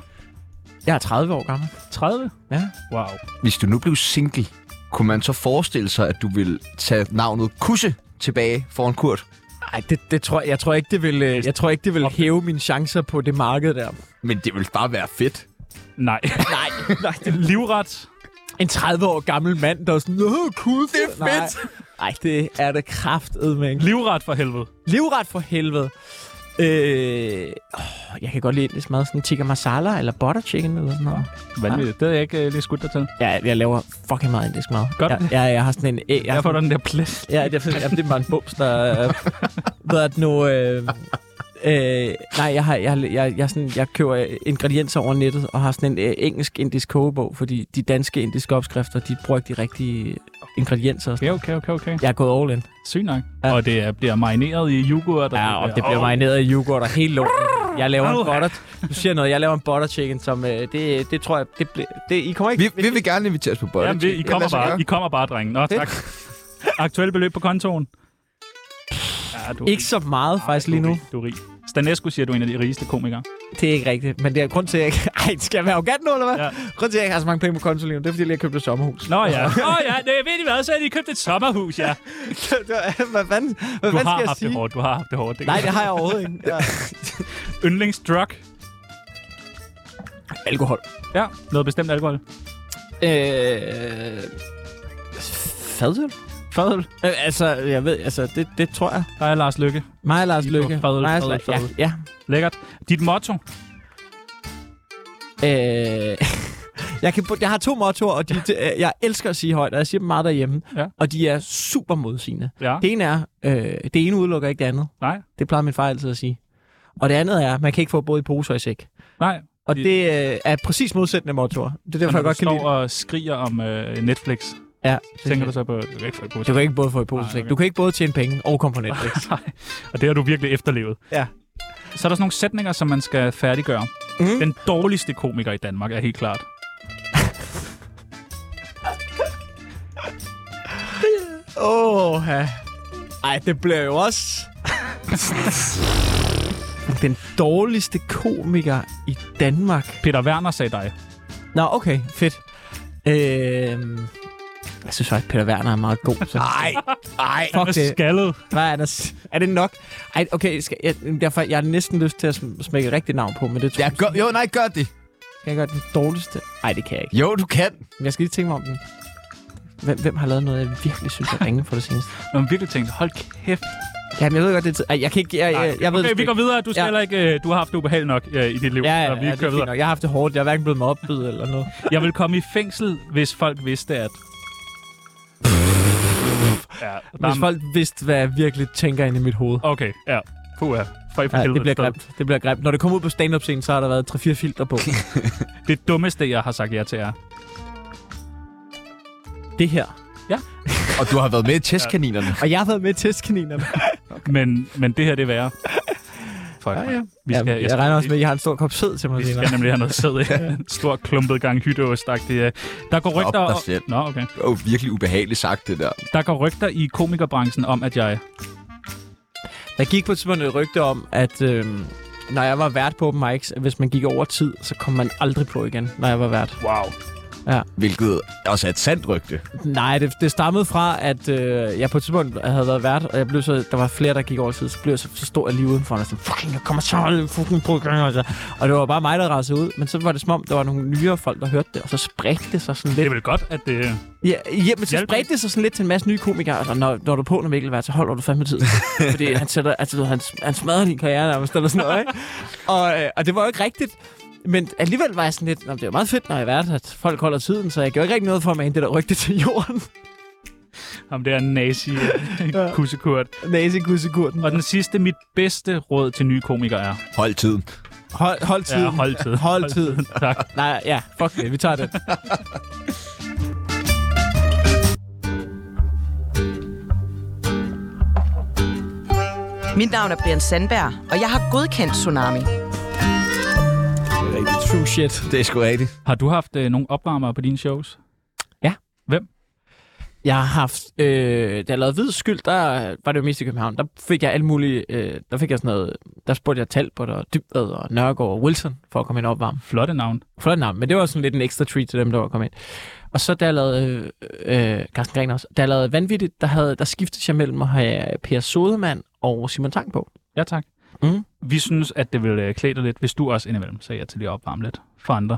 Speaker 3: Jeg er 30 år gammel.
Speaker 4: 30?
Speaker 3: Ja.
Speaker 4: Wow.
Speaker 1: Hvis du nu blev single, kunne man så forestille sig, at du ville tage navnet Kusse tilbage foran Kurt?
Speaker 3: Nej, det, det tror jeg, jeg tror ikke, det vil, øh, jeg tror ikke, det vil hæve mine chancer på det marked der.
Speaker 1: Men det ville bare være fedt.
Speaker 4: Nej.
Speaker 3: Nej, nej. det-
Speaker 4: Livret?
Speaker 3: En 30 år gammel mand, der er sådan, Nå, cool, det er fedt. Nej, Ej, det er det kraftet, man.
Speaker 4: Livret for helvede.
Speaker 3: Livret for helvede. Øh, åh, jeg kan godt lide indisk mad, sådan tikka masala eller butter chicken eller sådan noget.
Speaker 4: Vanvittigt. Det havde jeg ikke øh, lige skudt dig til.
Speaker 3: Jeg, jeg laver fucking meget indisk mad.
Speaker 4: Gør du
Speaker 3: jeg,
Speaker 4: det?
Speaker 3: jeg, jeg har sådan en... Jeg, jeg
Speaker 4: Jeg
Speaker 3: har
Speaker 4: får
Speaker 3: sådan,
Speaker 4: den der plads.
Speaker 3: ja, det, er, jamen, det er bare en bums, der... Øh, hvad er det nu? Øh, øh, nej, jeg, har, jeg, har- jeg, jeg, er sådan, jeg køber ingredienser over nettet og har sådan en øh, engelsk-indisk kogebog, fordi de danske indiske opskrifter, de bruger ikke de rigtige ingredienser. og sådan
Speaker 4: Okay, okay, okay, okay.
Speaker 3: noget. Jeg er gået all in.
Speaker 4: Sygt nok.
Speaker 3: Ja.
Speaker 4: Og det er, bliver marineret i yoghurt.
Speaker 3: Ja, og det bliver marineret i yoghurt og helt lort. Jeg laver en butter... Du siger noget, jeg laver en butter chicken, som... Øh, det, det tror jeg... Det, ble, det, I kommer ikke...
Speaker 1: Vi, vi vil gerne inviteres på
Speaker 4: Oh.
Speaker 1: bolle.
Speaker 4: Jamen, vi, I, kommer bare, I kommer bare, drenge. Nå, tak. Aktuelle beløb på kontoen? Ja, du er
Speaker 3: Ikke så meget, faktisk, lige
Speaker 4: du er
Speaker 3: nu.
Speaker 4: rig. Du er rig. Stanescu siger, du er en af de rigeste komikere.
Speaker 3: Det er ikke rigtigt, men det er grund til, at jeg ikke... Ej, Ej, skal jeg være arrogant nu, eller hvad?
Speaker 4: Ja.
Speaker 3: Ja. Grunden til, at jeg ikke har så mange penge på kontoen lige nu, det er, fordi jeg lige har købt et sommerhus.
Speaker 4: Nå ja. Nå ja, nej, ved I hvad, så har de købt et sommerhus, ja.
Speaker 3: hvad fanden, hvad
Speaker 4: Du
Speaker 3: fanden
Speaker 4: har
Speaker 3: skal jeg
Speaker 4: haft
Speaker 3: sige?
Speaker 4: det hårdt, du har haft det hårdt.
Speaker 3: Nej, det har jeg overhovedet ikke. Ja.
Speaker 4: Yndlingsdrug.
Speaker 3: Alkohol.
Speaker 4: Ja, noget bestemt alkohol.
Speaker 3: Øh... Fadøl? Fadøl? Øh, altså, jeg ved, altså, det, det tror jeg.
Speaker 4: Der er Lars Lykke.
Speaker 3: Mig og Lars
Speaker 4: I går
Speaker 3: Lykke.
Speaker 4: fadøl,
Speaker 3: Mig og
Speaker 4: fadøl,
Speaker 3: Ja,
Speaker 4: fadøl.
Speaker 3: ja.
Speaker 4: Lækkert. Dit motto.
Speaker 3: Øh... Jeg, kan, jeg har to mottoer, og de, de, jeg elsker at sige højt, og jeg siger dem meget derhjemme.
Speaker 4: Ja.
Speaker 3: Og de er super modsigende.
Speaker 4: Ja.
Speaker 3: Det ene er, øh, det ene udelukker ikke det andet.
Speaker 4: Nej.
Speaker 3: Det plejer min far altid at sige. Og det andet er, man kan ikke få både i pose og i sæk.
Speaker 4: Nej.
Speaker 3: Og
Speaker 4: Det-
Speaker 3: det, det øh, er præcis modsætning af mottoer. Det er
Speaker 4: Det
Speaker 3: derfor, jeg godt kan lide
Speaker 4: står og skriger om øh, Netflix,
Speaker 3: det. Ja,
Speaker 4: tænker du så på... Du kan ikke få et
Speaker 3: Du
Speaker 4: positivt.
Speaker 3: kan ikke både få i pose og
Speaker 4: Nej,
Speaker 3: sæk.
Speaker 4: okay.
Speaker 3: Du kan ikke både tjene penge og komme på Netflix.
Speaker 4: Og det har du virkelig efterlevet.
Speaker 3: Ja.
Speaker 4: Så er der sådan nogle sætninger, som man skal færdiggøre. Mm.
Speaker 3: Mm.
Speaker 4: Den dårligste komiker i Danmark er helt klart.
Speaker 3: Åh, Ej, det bliver jo også... Den dårligste komiker i Danmark.
Speaker 4: Peter Werner sagde dig.
Speaker 3: Nå, okay, fedt. Øhm... Jeg synes faktisk, Peter Werner er meget god. Så. Ej, ej.
Speaker 4: Han er
Speaker 3: Fuck det.
Speaker 4: skaldet.
Speaker 3: Hvad er, der? s- er det nok? Ej, okay, skal jeg, derfor, jeg har næsten lyst til at sm- smække et rigtigt navn på, men det tror
Speaker 1: Ja,
Speaker 3: jeg,
Speaker 1: gør, jo, nej, gør det.
Speaker 3: skal jeg gøre den dårligste. Nej, det kan jeg ikke.
Speaker 1: Jo, du kan.
Speaker 3: Men jeg skal lige tænke mig om den. Hvem, hvem har lavet noget, jeg virkelig synes er ringe for det seneste?
Speaker 4: Når man virkelig tænkte, hold kæft.
Speaker 3: Jamen, jeg ved godt, det er... tid- Ej, jeg kan ikke... Jeg,
Speaker 4: Nej,
Speaker 3: jeg, jeg, jeg ved det
Speaker 4: okay,
Speaker 3: sgu
Speaker 4: vi
Speaker 3: ikke.
Speaker 4: går videre. Du, skal
Speaker 3: Ja.
Speaker 4: heller ikke, øh, du har haft det ubehageligt nok øh, i dit liv.
Speaker 3: Ja, ja,
Speaker 4: så
Speaker 3: ja,
Speaker 4: vi
Speaker 3: det er
Speaker 4: kører
Speaker 3: fint
Speaker 4: videre.
Speaker 3: nok. Jeg har haft det hårdt. Jeg er hverken blevet mig opbydet eller noget.
Speaker 4: Jeg vil komme i fængsel, hvis folk vidste, at... Ja, der
Speaker 3: Hvis
Speaker 4: er...
Speaker 3: folk vidste, hvad jeg virkelig tænker ind i mit hoved.
Speaker 4: Okay, ja. Puh, ja. For i for
Speaker 3: Ja,
Speaker 4: helvede
Speaker 3: det bliver
Speaker 4: sted.
Speaker 3: grimt. Det bliver grimt. Når det kommer ud på stand-up-scenen, så har der været 3-4 filter på.
Speaker 4: Det dummeste, jeg har sagt ja til jer.
Speaker 3: det her.
Speaker 1: Og du har været med i testkaninerne.
Speaker 3: Og jeg har været med til testkaninerne.
Speaker 4: Men, men det her, det er værre. Fuck, ja, ja. Vi skal,
Speaker 3: Jamen, jeg, jeg regner også med, at I har en stor kop sød til mig
Speaker 4: Vi
Speaker 3: senere.
Speaker 4: skal nemlig have noget sæd i. En stor klumpet gang hytteost ja. Der går rygter...
Speaker 1: dig
Speaker 4: og-
Speaker 1: selv.
Speaker 4: Nå, okay.
Speaker 1: Det var jo virkelig ubehageligt sagt, det der.
Speaker 4: Der går rygter i komikerbranchen om, at jeg...
Speaker 3: Der gik på et tidspunkt et rygte om, at øh, når jeg var vært på open mics, at hvis man gik over tid, så kom man aldrig på igen, når jeg var vært.
Speaker 4: Wow.
Speaker 1: Hvilket også er et sandt rygte.
Speaker 3: Nej, det, det stammede fra, at øh, jeg på et tidspunkt havde været vært, og jeg blev så, der var flere, der gik over tid, så blev jeg så, så stor lige udenfor, og jeg sådan, fucking, jeg kommer så aldrig fucking på igen, altså. Og det var bare mig, der rasede ud, men så var det som om, der var nogle nyere folk, der hørte det, og så spredte det sig sådan
Speaker 4: Det er
Speaker 3: lidt.
Speaker 4: vel godt, at det...
Speaker 3: Ja, ja men så
Speaker 4: Hjælp.
Speaker 3: spredte det sig sådan lidt til en masse nye komikere, altså, når, når du er på, når Mikkel Vært, så holder du fandme tid. Fordi han, sætter, altså, du ved, han, han smadrer din karriere nærmest, eller sådan noget, ikke? Og, øh, og det var jo ikke rigtigt. Men alligevel var jeg sådan lidt, "Nå, men det er jo meget fedt, når jeg er vært, at folk holder tiden, så jeg gjorde ikke rigtig noget for at mane det der rygte til jorden.
Speaker 4: Om det er en nazi øh, kussekurt.
Speaker 3: Nasekussekurten.
Speaker 4: Og den sidste, mit bedste råd til nye komikere er...
Speaker 1: Hold tiden.
Speaker 3: Hold, hold tiden.
Speaker 4: Ja, hold tid.
Speaker 3: Hold tiden.
Speaker 4: tak.
Speaker 3: Nej, ja, fuck det. Vi tager det.
Speaker 5: Mit navn er Brian Sandberg, og jeg har godkendt Tsunami.
Speaker 3: True shit.
Speaker 1: Det er sgu rigtigt.
Speaker 4: Har du haft øh, nogle opvarmere på dine shows?
Speaker 3: Jeg har haft... Øh, da jeg lavede Hvid Skyld, der var det jo mest i København. Der fik jeg alt muligt... Øh, der fik jeg sådan noget... Der spurgte jeg Talbot og Dybvad og Nørgaard og Wilson for at komme ind og opvarme.
Speaker 4: Flotte navn.
Speaker 3: Flot navn, men det var sådan lidt en ekstra treat til dem, der var kommet ind. Og så da jeg lavede... Øh, øh, Carsten Gren også. Da jeg lavede Vanvittigt, der, havde, der skiftede jeg mellem at have Per Sodemann og Simon Tang på.
Speaker 4: Ja, tak.
Speaker 3: Mm.
Speaker 4: Vi synes, at det ville øh, klæde dig lidt, hvis du også indimellem sagde ja til lige at opvarme lidt for andre.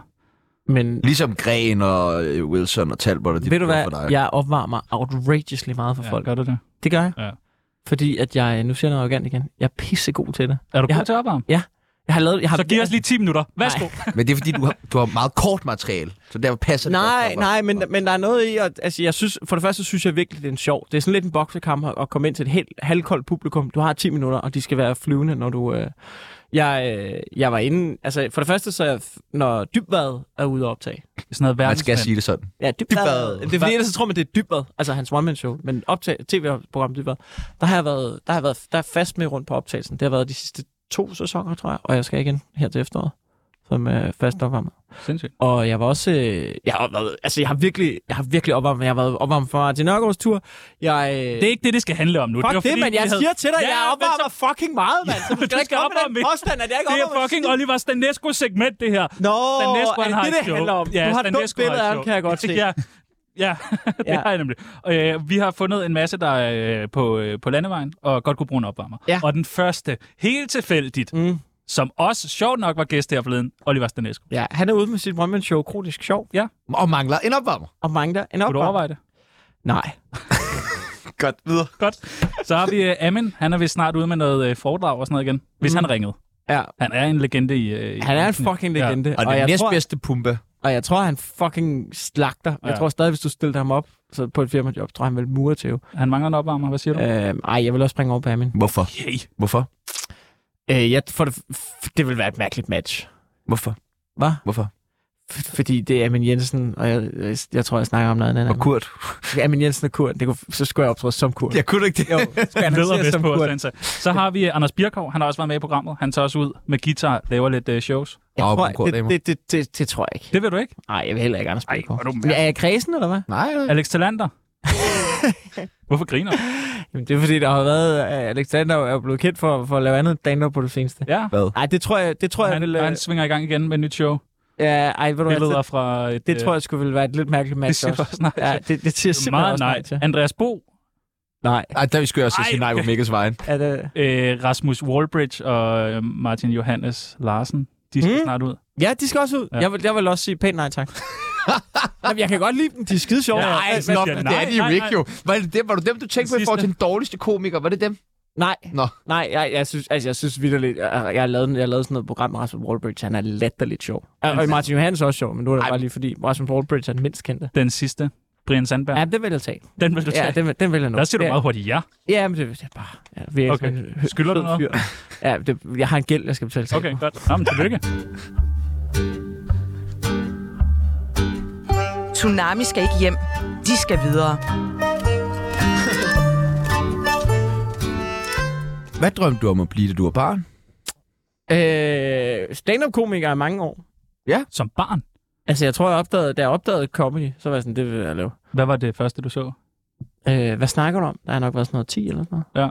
Speaker 3: Men
Speaker 1: Ligesom Gren og øh, Wilson og Talbot og de
Speaker 3: ved du
Speaker 1: gjorde
Speaker 3: hvad?
Speaker 1: for dig.
Speaker 3: Jeg opvarmer outrageously meget for
Speaker 4: Ja,
Speaker 3: folk.
Speaker 4: Gør du det?
Speaker 3: Det gør jeg.
Speaker 4: Ja.
Speaker 3: Fordi at jeg, nu siger jeg noget arrogant igen, jeg er pissegod til det.
Speaker 4: Er du
Speaker 3: Jeg
Speaker 4: god
Speaker 3: har-
Speaker 4: til at opvarme?
Speaker 3: Jeg har lavet... Jeg har,
Speaker 4: Så giv os lige 10 minutter. Værsgo.
Speaker 1: Men det er fordi, du har, du har meget kort materiale, så derfor passer
Speaker 3: Nej,
Speaker 1: det godt.
Speaker 3: nej, men, men der er noget i, at altså, jeg synes, for det første synes jeg virkelig, det er en sjov. Det er sådan lidt en boksekamp at- at komme ind til et helt halvkoldt publikum. Du har 10 minutter, og de skal være flyvende, når du... Øh, jeg, øh, jeg var inde... Altså, for det første, så er jeg, f- når dybvad er ude at optage.
Speaker 4: Sådan noget
Speaker 1: Man skal
Speaker 4: verdensmand.
Speaker 1: sige det sådan.
Speaker 3: Ja, dybvad. Det er fordi, ellers så tror man, det er dybvad. Altså hans one-man-show. Men optag, tv-program dybvad. Der har jeg været, der har jeg været der er fast med rundt på optagelsen. Det har været de sidste to sæsoner, tror jeg. Og jeg skal igen her til efteråret. som øh, fast opvarmer.
Speaker 4: Sindssygt.
Speaker 3: Og jeg var også... Øh, jeg, har været, altså, jeg har virkelig, jeg har virkelig opvarmet. Jeg har været opvarmet for Martin Nørgaards tur. Jeg, øh,
Speaker 4: Det er ikke det, det skal handle om nu.
Speaker 3: Fuck
Speaker 4: var
Speaker 3: det,
Speaker 4: fordi,
Speaker 3: men
Speaker 4: vi
Speaker 3: jeg
Speaker 4: havde-
Speaker 3: siger til dig,
Speaker 4: Ja,
Speaker 3: jeg
Speaker 4: men
Speaker 3: opvarmer
Speaker 4: så-
Speaker 3: fucking meget, mand. Så du skal
Speaker 4: du
Speaker 3: ikke
Speaker 4: skal
Speaker 3: komme med
Speaker 4: opvarme
Speaker 3: den
Speaker 4: mit.
Speaker 3: påstand, at jeg ikke
Speaker 4: Det er
Speaker 3: opvarmer
Speaker 4: fucking
Speaker 3: shit.
Speaker 4: Oliver Stanesco segment, det her.
Speaker 3: Nå,
Speaker 4: Stanesco,
Speaker 3: er
Speaker 4: han
Speaker 3: det
Speaker 4: har
Speaker 3: det,
Speaker 4: et
Speaker 3: det
Speaker 4: show.
Speaker 3: handler om?
Speaker 4: Ja,
Speaker 3: du har et dumt
Speaker 4: Stanesco
Speaker 3: billede
Speaker 4: et
Speaker 3: af ham,
Speaker 4: show.
Speaker 3: kan jeg godt se.
Speaker 4: ja. Ja, det
Speaker 3: Ja.
Speaker 4: har jeg nemlig. Øh, vi har fundet en masse, der er øh, på, øh, på landevejen, og godt kunne bruge en opvarmer.
Speaker 3: Ja.
Speaker 4: Og den første, helt tilfældigt,
Speaker 3: Mm.
Speaker 4: som også sjovt nok var gæst her forleden, Oliver Stanesco.
Speaker 3: Ja, han er ude med sit one-man-show, Kronisk Sjov,
Speaker 1: Og mangler en opvarmer.
Speaker 3: og mangler en
Speaker 4: Kunne du
Speaker 3: opvarmer.
Speaker 4: overveje det?
Speaker 3: Nej.
Speaker 1: Godt, videre.
Speaker 4: Godt. Så har vi øh, Amin. Han er vist snart ude med noget øh, foredrag og sådan noget igen. Hvis
Speaker 3: Mm.
Speaker 4: mm. han ringede.
Speaker 3: Ja.
Speaker 4: Han er en legende i... Øh, i
Speaker 3: Han er en
Speaker 4: branchen.
Speaker 3: fucking legende.
Speaker 1: Og, og det
Speaker 3: jeg tror,
Speaker 1: næstbedste pumpe.
Speaker 3: og jeg tror, han fucking slagter. Ja. Jeg
Speaker 4: Ja.
Speaker 3: tror stadig, hvis du stillede ham op så på et firmajob, tror jeg, han vil mure til.
Speaker 4: Ja. Han mangler en opvarmer. Hvad siger du?
Speaker 3: Øhm, ej, jeg vil også springe over på Amin.
Speaker 1: Hvorfor?
Speaker 4: Hey.
Speaker 1: Hvorfor?
Speaker 3: Øh, jeg, for det, f- det vil være et mærkeligt match.
Speaker 1: Hvorfor?
Speaker 3: Hvad?
Speaker 1: Hvorfor?
Speaker 3: F- fordi det er Amin Jensen, og jeg, jeg, jeg tror, jeg snakker om noget andet.
Speaker 1: Og Kurt?
Speaker 3: Amin Jensen og Kurt, det kunne, så skulle jeg optræde som Kurt.
Speaker 1: Jeg kunne ikke det. Jo.
Speaker 3: skal
Speaker 4: Han leder
Speaker 3: annoncere
Speaker 4: vest
Speaker 3: som
Speaker 4: på
Speaker 3: Kurt.
Speaker 4: Atlanta. Så har vi øh, Anders Birkov. Han har også været med i programmet. Han tager også ud med guitar, laver lidt øh, shows.
Speaker 3: Jeg
Speaker 1: Åh,
Speaker 3: tror,
Speaker 1: Kurt
Speaker 3: det,
Speaker 1: Damer.
Speaker 3: det, det, det, det, tror jeg ikke.
Speaker 4: Det vil du ikke?
Speaker 3: Nej, jeg vil heller ikke Anders
Speaker 4: Ej,
Speaker 3: Bødgaard.
Speaker 4: hvor er du
Speaker 3: Men Er jeg kredsen, eller hvad?
Speaker 1: Nej, nej.
Speaker 4: Alex Talander. Hvorfor griner du?
Speaker 3: Jamen, det er fordi, der har været... øh, Alexander er jo blevet kendt for, for at lave andet stand på det seneste.
Speaker 4: Ja.
Speaker 1: Hvad?
Speaker 3: Nej, det tror jeg... Det tror jeg,
Speaker 4: Han,
Speaker 3: vil, øh,
Speaker 4: han svinger i gang igen med et nyt show.
Speaker 3: ja, ej, ved du hvad,
Speaker 4: Billeder
Speaker 3: det,
Speaker 4: fra et...
Speaker 3: det tror
Speaker 4: øh,
Speaker 3: jeg skulle ville være et lidt mærkeligt
Speaker 4: det
Speaker 3: match
Speaker 4: siger du
Speaker 3: også.
Speaker 4: også nej.
Speaker 3: Ja, det, det siger
Speaker 4: til.
Speaker 3: simpelthen
Speaker 4: Meget
Speaker 3: også
Speaker 4: nej.
Speaker 3: nej til.
Speaker 4: Andreas Bo,
Speaker 3: Nej.
Speaker 1: Ej, der vi skal jo også
Speaker 4: Ej,
Speaker 1: sige nej på Mikkels vejen.
Speaker 3: Er det,
Speaker 4: øh, Rasmus Wallbridge og øh, Martin Johannes Larsen. De skal
Speaker 3: Mm.
Speaker 4: mm. snart ud.
Speaker 3: ja, de skal også ud.
Speaker 4: Ja.
Speaker 3: Jeg, vil, jeg vil også sige pænt nej, tak. Jamen, jeg kan godt lide dem. De er skide sjove.
Speaker 4: Ja,
Speaker 3: Nej,
Speaker 4: altså,
Speaker 3: men-
Speaker 4: nå,
Speaker 1: Nå,
Speaker 4: siger
Speaker 1: men
Speaker 4: nej,
Speaker 1: det er de jo
Speaker 4: nej,
Speaker 1: ikke jo. Var det, dem, var det dem, du tænkte på i
Speaker 4: Sidste.
Speaker 1: forhold til den dårligste komiker? Var det dem?
Speaker 3: Nej,
Speaker 1: Nå.
Speaker 3: nej jeg, jeg synes, altså, jeg synes vidderligt, jeg, jeg, har lavet, jeg har lavet sådan noget program med Rasmus Wallbridge, han er latterligt sjov. Og,
Speaker 4: Altså-
Speaker 3: og Martin Johannes er også sjov, men nu er det
Speaker 1: Ej.
Speaker 3: bare lige fordi, Rasmus Wallbridge er den mindst kendte.
Speaker 4: Den sidste, Brian Sandberg.
Speaker 3: Ja, den vil jeg tage.
Speaker 4: Den vil du tage.
Speaker 3: Ja, den, vil- den vil jeg nå.
Speaker 4: Der siger du
Speaker 3: ja,
Speaker 4: meget hurtigt ja.
Speaker 3: Ja, men det, det er bare... Ja, vi er
Speaker 4: Okay.
Speaker 3: sådan en hø-
Speaker 4: Skylder du
Speaker 3: fed
Speaker 4: noget?
Speaker 3: fyr. Ja, det, jeg har en gæld, jeg skal betale til.
Speaker 4: Okay, godt. Nå, men tillykke.
Speaker 5: Tsunami skal ikke hjem. De skal videre.
Speaker 1: Hvad drømte du om at blive, da du var barn?
Speaker 3: Øh, Stand-up-komiker i mange år.
Speaker 4: Som barn.
Speaker 3: Altså, jeg tror, jeg opdagede, da jeg opdagede comedy, så var jeg sådan, det vil jeg lave.
Speaker 4: Hvad var det første, du så?
Speaker 3: Øh, hvad snakker du om? Der har nok været sådan noget 10 eller sådan noget.
Speaker 4: Ja.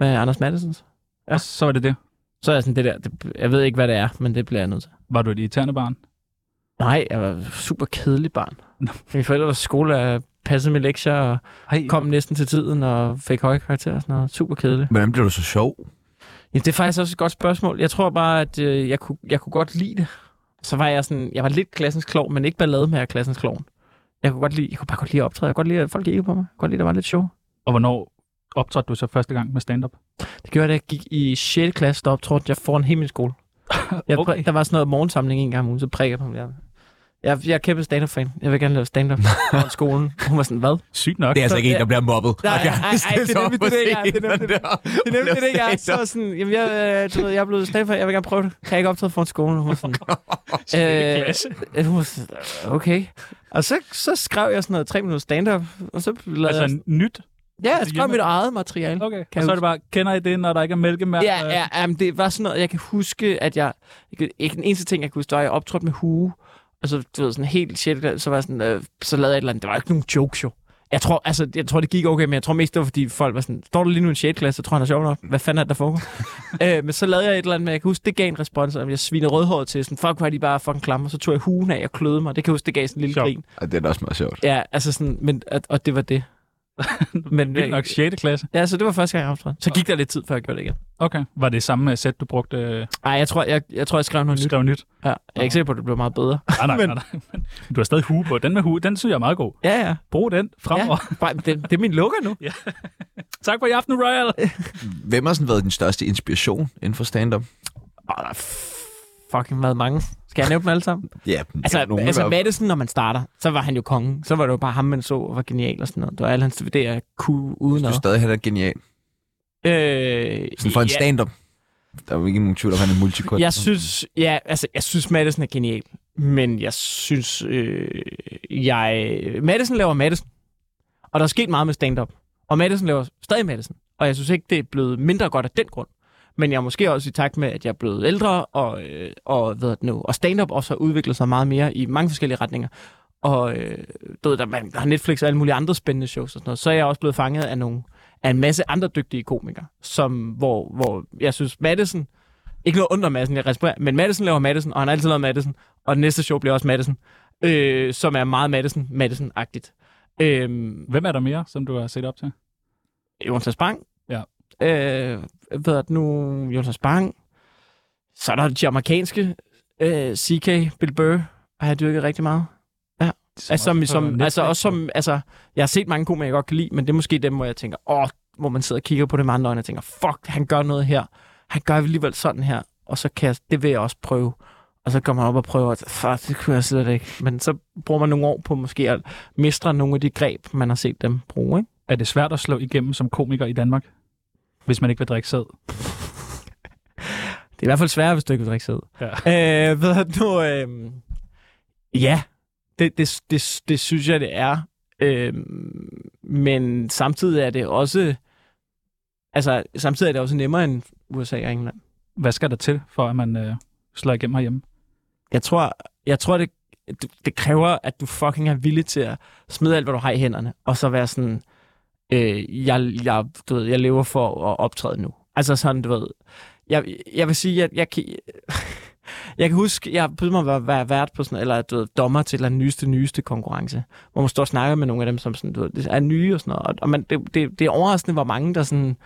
Speaker 3: Med Anders Mattesens. Ja.
Speaker 4: Ja. Og så var det det.
Speaker 3: Så er jeg sådan, det der, det, jeg ved ikke, hvad det er, men det bliver jeg nødt til.
Speaker 4: Var du et irriterende barn?
Speaker 3: Nej, jeg var super kedelig barn.
Speaker 4: Nå.
Speaker 3: Mine forældre var skole, jeg passede mine lektier, og
Speaker 4: Hej.
Speaker 3: kom næsten til tiden, og fik høje karakterer og sådan noget. Super kedelig.
Speaker 1: Hvordan blev du så sjov?
Speaker 3: Ja, det er faktisk også et godt spørgsmål. Jeg tror bare, at øh, jeg, kunne, jeg kunne godt lide det. Så var jeg sådan, jeg var lidt klassens klovn, men ikke ballade med klassens klovn. Jeg kunne, godt lide, jeg kunne bare godt lide at optræde. Jeg kunne godt lide, at folk kiggede på mig. Jeg kunne godt lide, at der var lidt sjov.
Speaker 4: Og hvornår optrådte du så første gang med stand-up?
Speaker 3: Det gjorde, at jeg gik i 6. klasse, der optrådte jeg foran hele min skole. Jeg okay.
Speaker 4: Okay.
Speaker 3: præ- der var sådan noget morgensamling en gang om ugen, så prikker jeg på mig. Jeg, jeg, jeg er kæmpe stand-up-fan. Jeg vil gerne lave stand-up på skolen. Hun var sådan, hvad?
Speaker 4: Sygt nok.
Speaker 1: Det er altså ikke en,
Speaker 3: ja.
Speaker 1: der bliver mobbet.
Speaker 3: Nej,
Speaker 1: Og gerne
Speaker 3: nej, nej,
Speaker 1: vil stille
Speaker 3: det er
Speaker 1: sig op
Speaker 3: nemlig
Speaker 1: på
Speaker 3: det, det er.
Speaker 1: scenen
Speaker 3: Det er nemlig det.
Speaker 1: der
Speaker 3: Det er nemlig
Speaker 1: og
Speaker 3: det, jeg er
Speaker 1: lave stand-up.
Speaker 3: så sådan, jamen jeg, øh, du ved, jeg er blevet stand jeg vil gerne prøve det. Kan jeg ikke optræde foran skolen? Hun var sådan, øh, hun var sådan, øh, okay. Og så, så skrev jeg sådan noget tre minutter stand-up, og så lavede
Speaker 4: Altså
Speaker 3: jeg,
Speaker 4: nyt.
Speaker 3: ja, jeg
Speaker 4: altså
Speaker 3: skrev
Speaker 4: hjemme-
Speaker 3: mit eget materiale.
Speaker 4: Okay.
Speaker 3: Kan
Speaker 4: og så
Speaker 3: jeg
Speaker 4: er det bare, kender I det, når der ikke er Øh, mælkemærker?
Speaker 3: Ja, ja, ja, men det var sådan noget, jeg kan huske, at jeg... ikke- Ikke den eneste ting, jeg kunne huske, det var, at jeg optrådte med hue. Og så, du ved, sådan helt shit, så var jeg sådan, øh, så lavede jeg et eller andet. Det var ikke nogen jokes, jo. Jeg tror, altså, jeg tror, det gik okay, men jeg tror mest, det var, fordi folk var sådan, står du lige nu i en 6. klasse, så tror jeg, han er sjov nok. Hvad fanden er det, der foregår? øh, men så lavede jeg et eller andet, men jeg kan huske, det gav en respons, og jeg svinede rødhåret til, sådan, fuck, hvor er de bare fucking klamme, og så tog jeg huen af og kløede mig. Det kan jeg huske, det gav sådan en lille
Speaker 4: Sjovt.
Speaker 3: grin.
Speaker 1: Ej, det er da også meget sjovt.
Speaker 3: Ja, altså sådan, men, og, og det var det. men, øh,
Speaker 4: Det er nok 6. klasse.
Speaker 3: ja, så det var første gang, jeg optrådte. Så gik der lidt tid, før jeg gjorde det igen.
Speaker 4: Okay. Var det samme øh, sæt, du brugte? øh,
Speaker 3: Nej, jeg tror, jeg, jeg, tror, jeg skrev noget
Speaker 4: Du
Speaker 3: nyt.
Speaker 4: skrev nyt.
Speaker 3: Ja, jeg er ikke sikker på, at det blev meget bedre.
Speaker 4: Nej, nej, nej, nej. Men Du har stadig hue på. Den med hue, den synes jeg er meget god.
Speaker 3: Ja, ja.
Speaker 4: Brug den fremover.
Speaker 3: ja. Bare, det, det er min lukker nu.
Speaker 4: Ja. Tak for i aften, Royal.
Speaker 1: Hvem har sådan været din største inspiration inden for stand-up?
Speaker 3: Åh, der er fucking været mange. Skal jeg nævne dem alle sammen?
Speaker 1: Ja,
Speaker 3: Altså,
Speaker 1: nogen i
Speaker 3: altså
Speaker 1: hvert fald.
Speaker 3: Madison, når man starter, så var han jo kongen. Så var det jo bare ham, man så og var genial og sådan noget. Det var alle hans DVD'er, jeg kunne uden
Speaker 1: Du
Speaker 3: noget.
Speaker 1: er stadig, han er genial.
Speaker 3: Øh,
Speaker 1: Sådan for en
Speaker 3: ja,
Speaker 1: stand-up. Der er jo ikke nogen tvivl om, han er multikunstner.
Speaker 3: Jeg synes, ja, altså, jeg synes, Madison er genial. Men jeg synes, øh, jeg... Madison laver Madison. Og der er sket meget med stand-up. Og Madison laver stadig Madison. Og jeg synes ikke, det er blevet mindre godt af den grund. Men jeg er måske også i takt med, at jeg er blevet ældre, og, øh, og, hvad det nu, og stand-up også har udviklet sig meget mere i mange forskellige retninger. Og øh, du ved, der, man, der er Netflix og alle mulige andre spændende shows og sådan noget. Så er jeg også blevet fanget af, nogle, af en masse andre dygtige komikere, som, hvor, hvor jeg synes, Madison, ikke noget under Madsen, jeg respekterer, men Madison laver Madison, og han har altid lavet Madison, og det næste show bliver også Madison, øh, som er meget Madison, Madison-agtigt. Øh,
Speaker 4: Hvem er der mere, som du har set op til?
Speaker 3: Jonas Bang.
Speaker 4: Ja.
Speaker 3: Øh, hvad er det nu? Jonas Bang. Så er der de amerikanske. Øh, CK, Bill Burr har jeg dyrket rigtig meget. Altså, som, som, altså, også som, altså, jeg har set mange komikere, jeg godt kan lide, men det er måske dem, hvor jeg tænker, åh, hvor man sidder og kigger på det med andre øjne og tænker, fuck, han gør noget her. Han gør alligevel sådan her, og så kan jeg, det vil jeg også prøve. Og så kommer man op og prøver, at fuck, det kunne jeg slet ikke. Men så bruger man nogle år på måske at mestre nogle af de greb, man har set dem bruge, ikke?
Speaker 4: Er det svært at slå igennem som komiker i Danmark, hvis man ikke vil drikke sæd?
Speaker 3: Det er i hvert fald sværere, hvis du ikke vil drikke sæd.
Speaker 4: Ja.
Speaker 3: Øh, ved du, nu, øh, ja, det, det, det, det synes jeg, det er. Øh, men samtidig er det også, altså samtidig er det også nemmere end USA og England.
Speaker 4: Hvad skal der til, for at man øh, slår igennem herhjemme?
Speaker 3: Jeg tror, jeg tror det, det, det kræver, at du fucking er villig til at smide alt, hvad du har i hænderne, og så være sådan, øh, jeg, jeg, du ved, jeg lever for at optræde nu. Altså sådan, du ved. Jeg, jeg vil sige, at jeg kan... Jeg kan huske, jeg på mig var, var vært på sådan, eller du ved, dommer til en eller anden nyeste, nyeste konkurrence, hvor man står og snakker med nogle af dem, som sådan, du ved, er nye og sådan noget. Og, og man, det, det, det, er overraskende, hvor mange der sådan,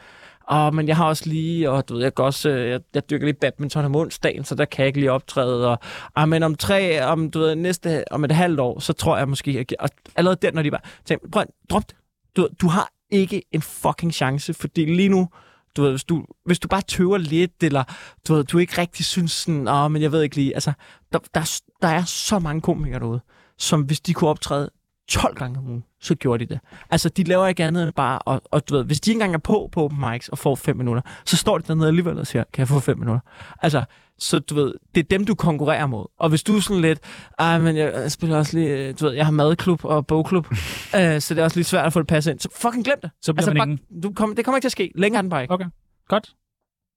Speaker 3: åh, men jeg har også lige, og du ved, jeg, kan også, øh, jeg, jeg dyrker lige badminton om onsdagen, så der kan jeg ikke lige optræde, og ah, men om tre, om, du ved, næste, om et halvt år, så tror jeg måske, jeg, gi-" og allerede der, når de bare, tænker, prøv, at- drop det. Du, ved, du har ikke en fucking chance, fordi lige nu, du ved, hvis du, hvis du bare tøver lidt, eller du ved, du ikke rigtig synes sådan, åh, men jeg ved ikke lige, altså, der, der, er s- der er så mange komikere derude, som hvis de kunne optræde 12 gange om ugen, så gjorde de det. Altså, de laver ikke andet end bare, og, og du ved, hvis de ikke engang er på på open mics og får 5 minutter, så står de dernede alligevel og siger, kan jeg få 5 minutter? Altså, så du ved, det er dem, du konkurrerer mod. Og hvis du er sådan lidt, ej, men jeg, jeg spiller også lige, øh, du ved, jeg har madklub og bogklub, øh, så det er også lidt svært at få det passet ind, så fucking glem det.
Speaker 4: Så bliver
Speaker 3: Altså,
Speaker 4: man
Speaker 3: bare,
Speaker 4: ingen...
Speaker 3: du kom, det kommer ikke til at ske. Længere er den bare ikke.
Speaker 4: Okay, godt.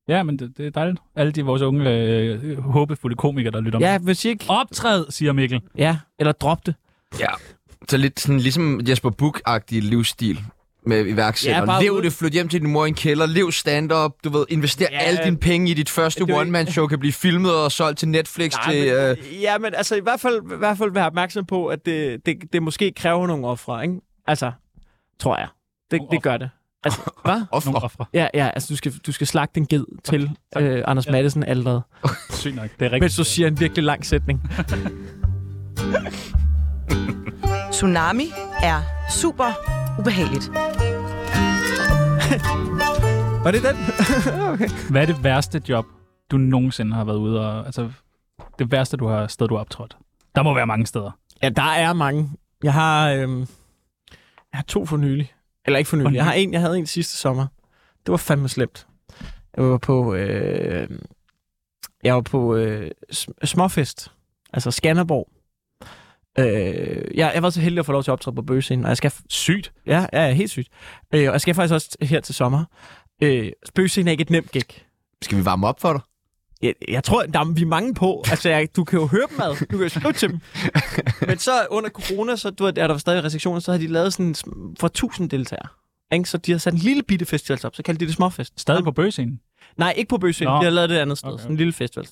Speaker 4: Ja, men det, det er dejligt. Alle de vores unge, øh, håbefulde komikere, der lytter
Speaker 3: Ja, hvis I ikke...
Speaker 4: Optræd, siger Mikkel.
Speaker 3: Ja, eller drop det.
Speaker 1: Så lidt sådan ligesom Jesper Buch-agtig livsstil med iværksætter.
Speaker 3: Ja,
Speaker 1: Ja,
Speaker 3: bare
Speaker 1: lev
Speaker 3: ud.
Speaker 1: det, flyt hjem til din mor i en kælder, lev stand-up, du ved, invester
Speaker 3: Ja.
Speaker 1: ja, alle dine penge i dit første
Speaker 3: Det er jo ikke-
Speaker 1: one-man-show, kan blive filmet og solgt til Netflix, Nej, til... Men... Øh,
Speaker 3: men, ja, men altså i hvert fald, i hvert fald være opmærksom på, at det, det, det måske kræver nogle ofre, ikke? Altså, tror jeg. Det,
Speaker 4: Nogle
Speaker 3: det gør det. Altså, hvad?
Speaker 4: Nogle
Speaker 1: ofre.
Speaker 4: ofre.
Speaker 3: Ja, ja, altså du skal, du skal slagte en ged til
Speaker 4: tak.
Speaker 3: øh, Anders
Speaker 4: Ja.
Speaker 3: Madsen allerede.
Speaker 4: Sygt nok. Det er
Speaker 3: Men
Speaker 4: rigtigt.
Speaker 3: så siger en virkelig lang sætning.
Speaker 5: Tsunami er super ubehageligt.
Speaker 3: Var det den?
Speaker 4: Hvad er det værste job, du nogensinde har været ude og... Altså, det værste du har, sted, du har optrådt? Der må være mange steder.
Speaker 3: Ja, der er mange. Jeg har, øhm, jeg har to for nylig. Eller ikke for
Speaker 4: For
Speaker 3: nylig. Jeg, har
Speaker 4: nylig?
Speaker 3: en, jeg havde en sidste sommer. Det var fandme slemt. Jeg var på, øh, jeg var på øh, sm- småfest. Altså Skanderborg. Øh, jeg, jeg var så heldig at få lov til at optræde på bøgescenen, og jeg skal
Speaker 4: Sygt.
Speaker 3: Ja, ja, ja helt sygt. Øh, og jeg skal faktisk også her til sommer. Øh, spøgscenen er ikke et nemt gig.
Speaker 1: Skal vi varme op for dig?
Speaker 3: Jeg, jeg tror, der er, vi er mange på. Altså, jeg, du kan jo høre dem ad. Du kan jo skrive til dem. Men så under corona, så du, ved, er der stadig restriktioner, så har de lavet sådan sm- for 1000 deltagere. Ikke? Så de har sat en lille bitte festival op, så kaldte de det småfest.
Speaker 4: Stadig på bøgescenen.
Speaker 3: Nej, ikke på Bøsøen.
Speaker 4: Nå.
Speaker 3: De har lavet det et andet sted.
Speaker 4: Okay.
Speaker 3: Okay. Sådan en lille festival.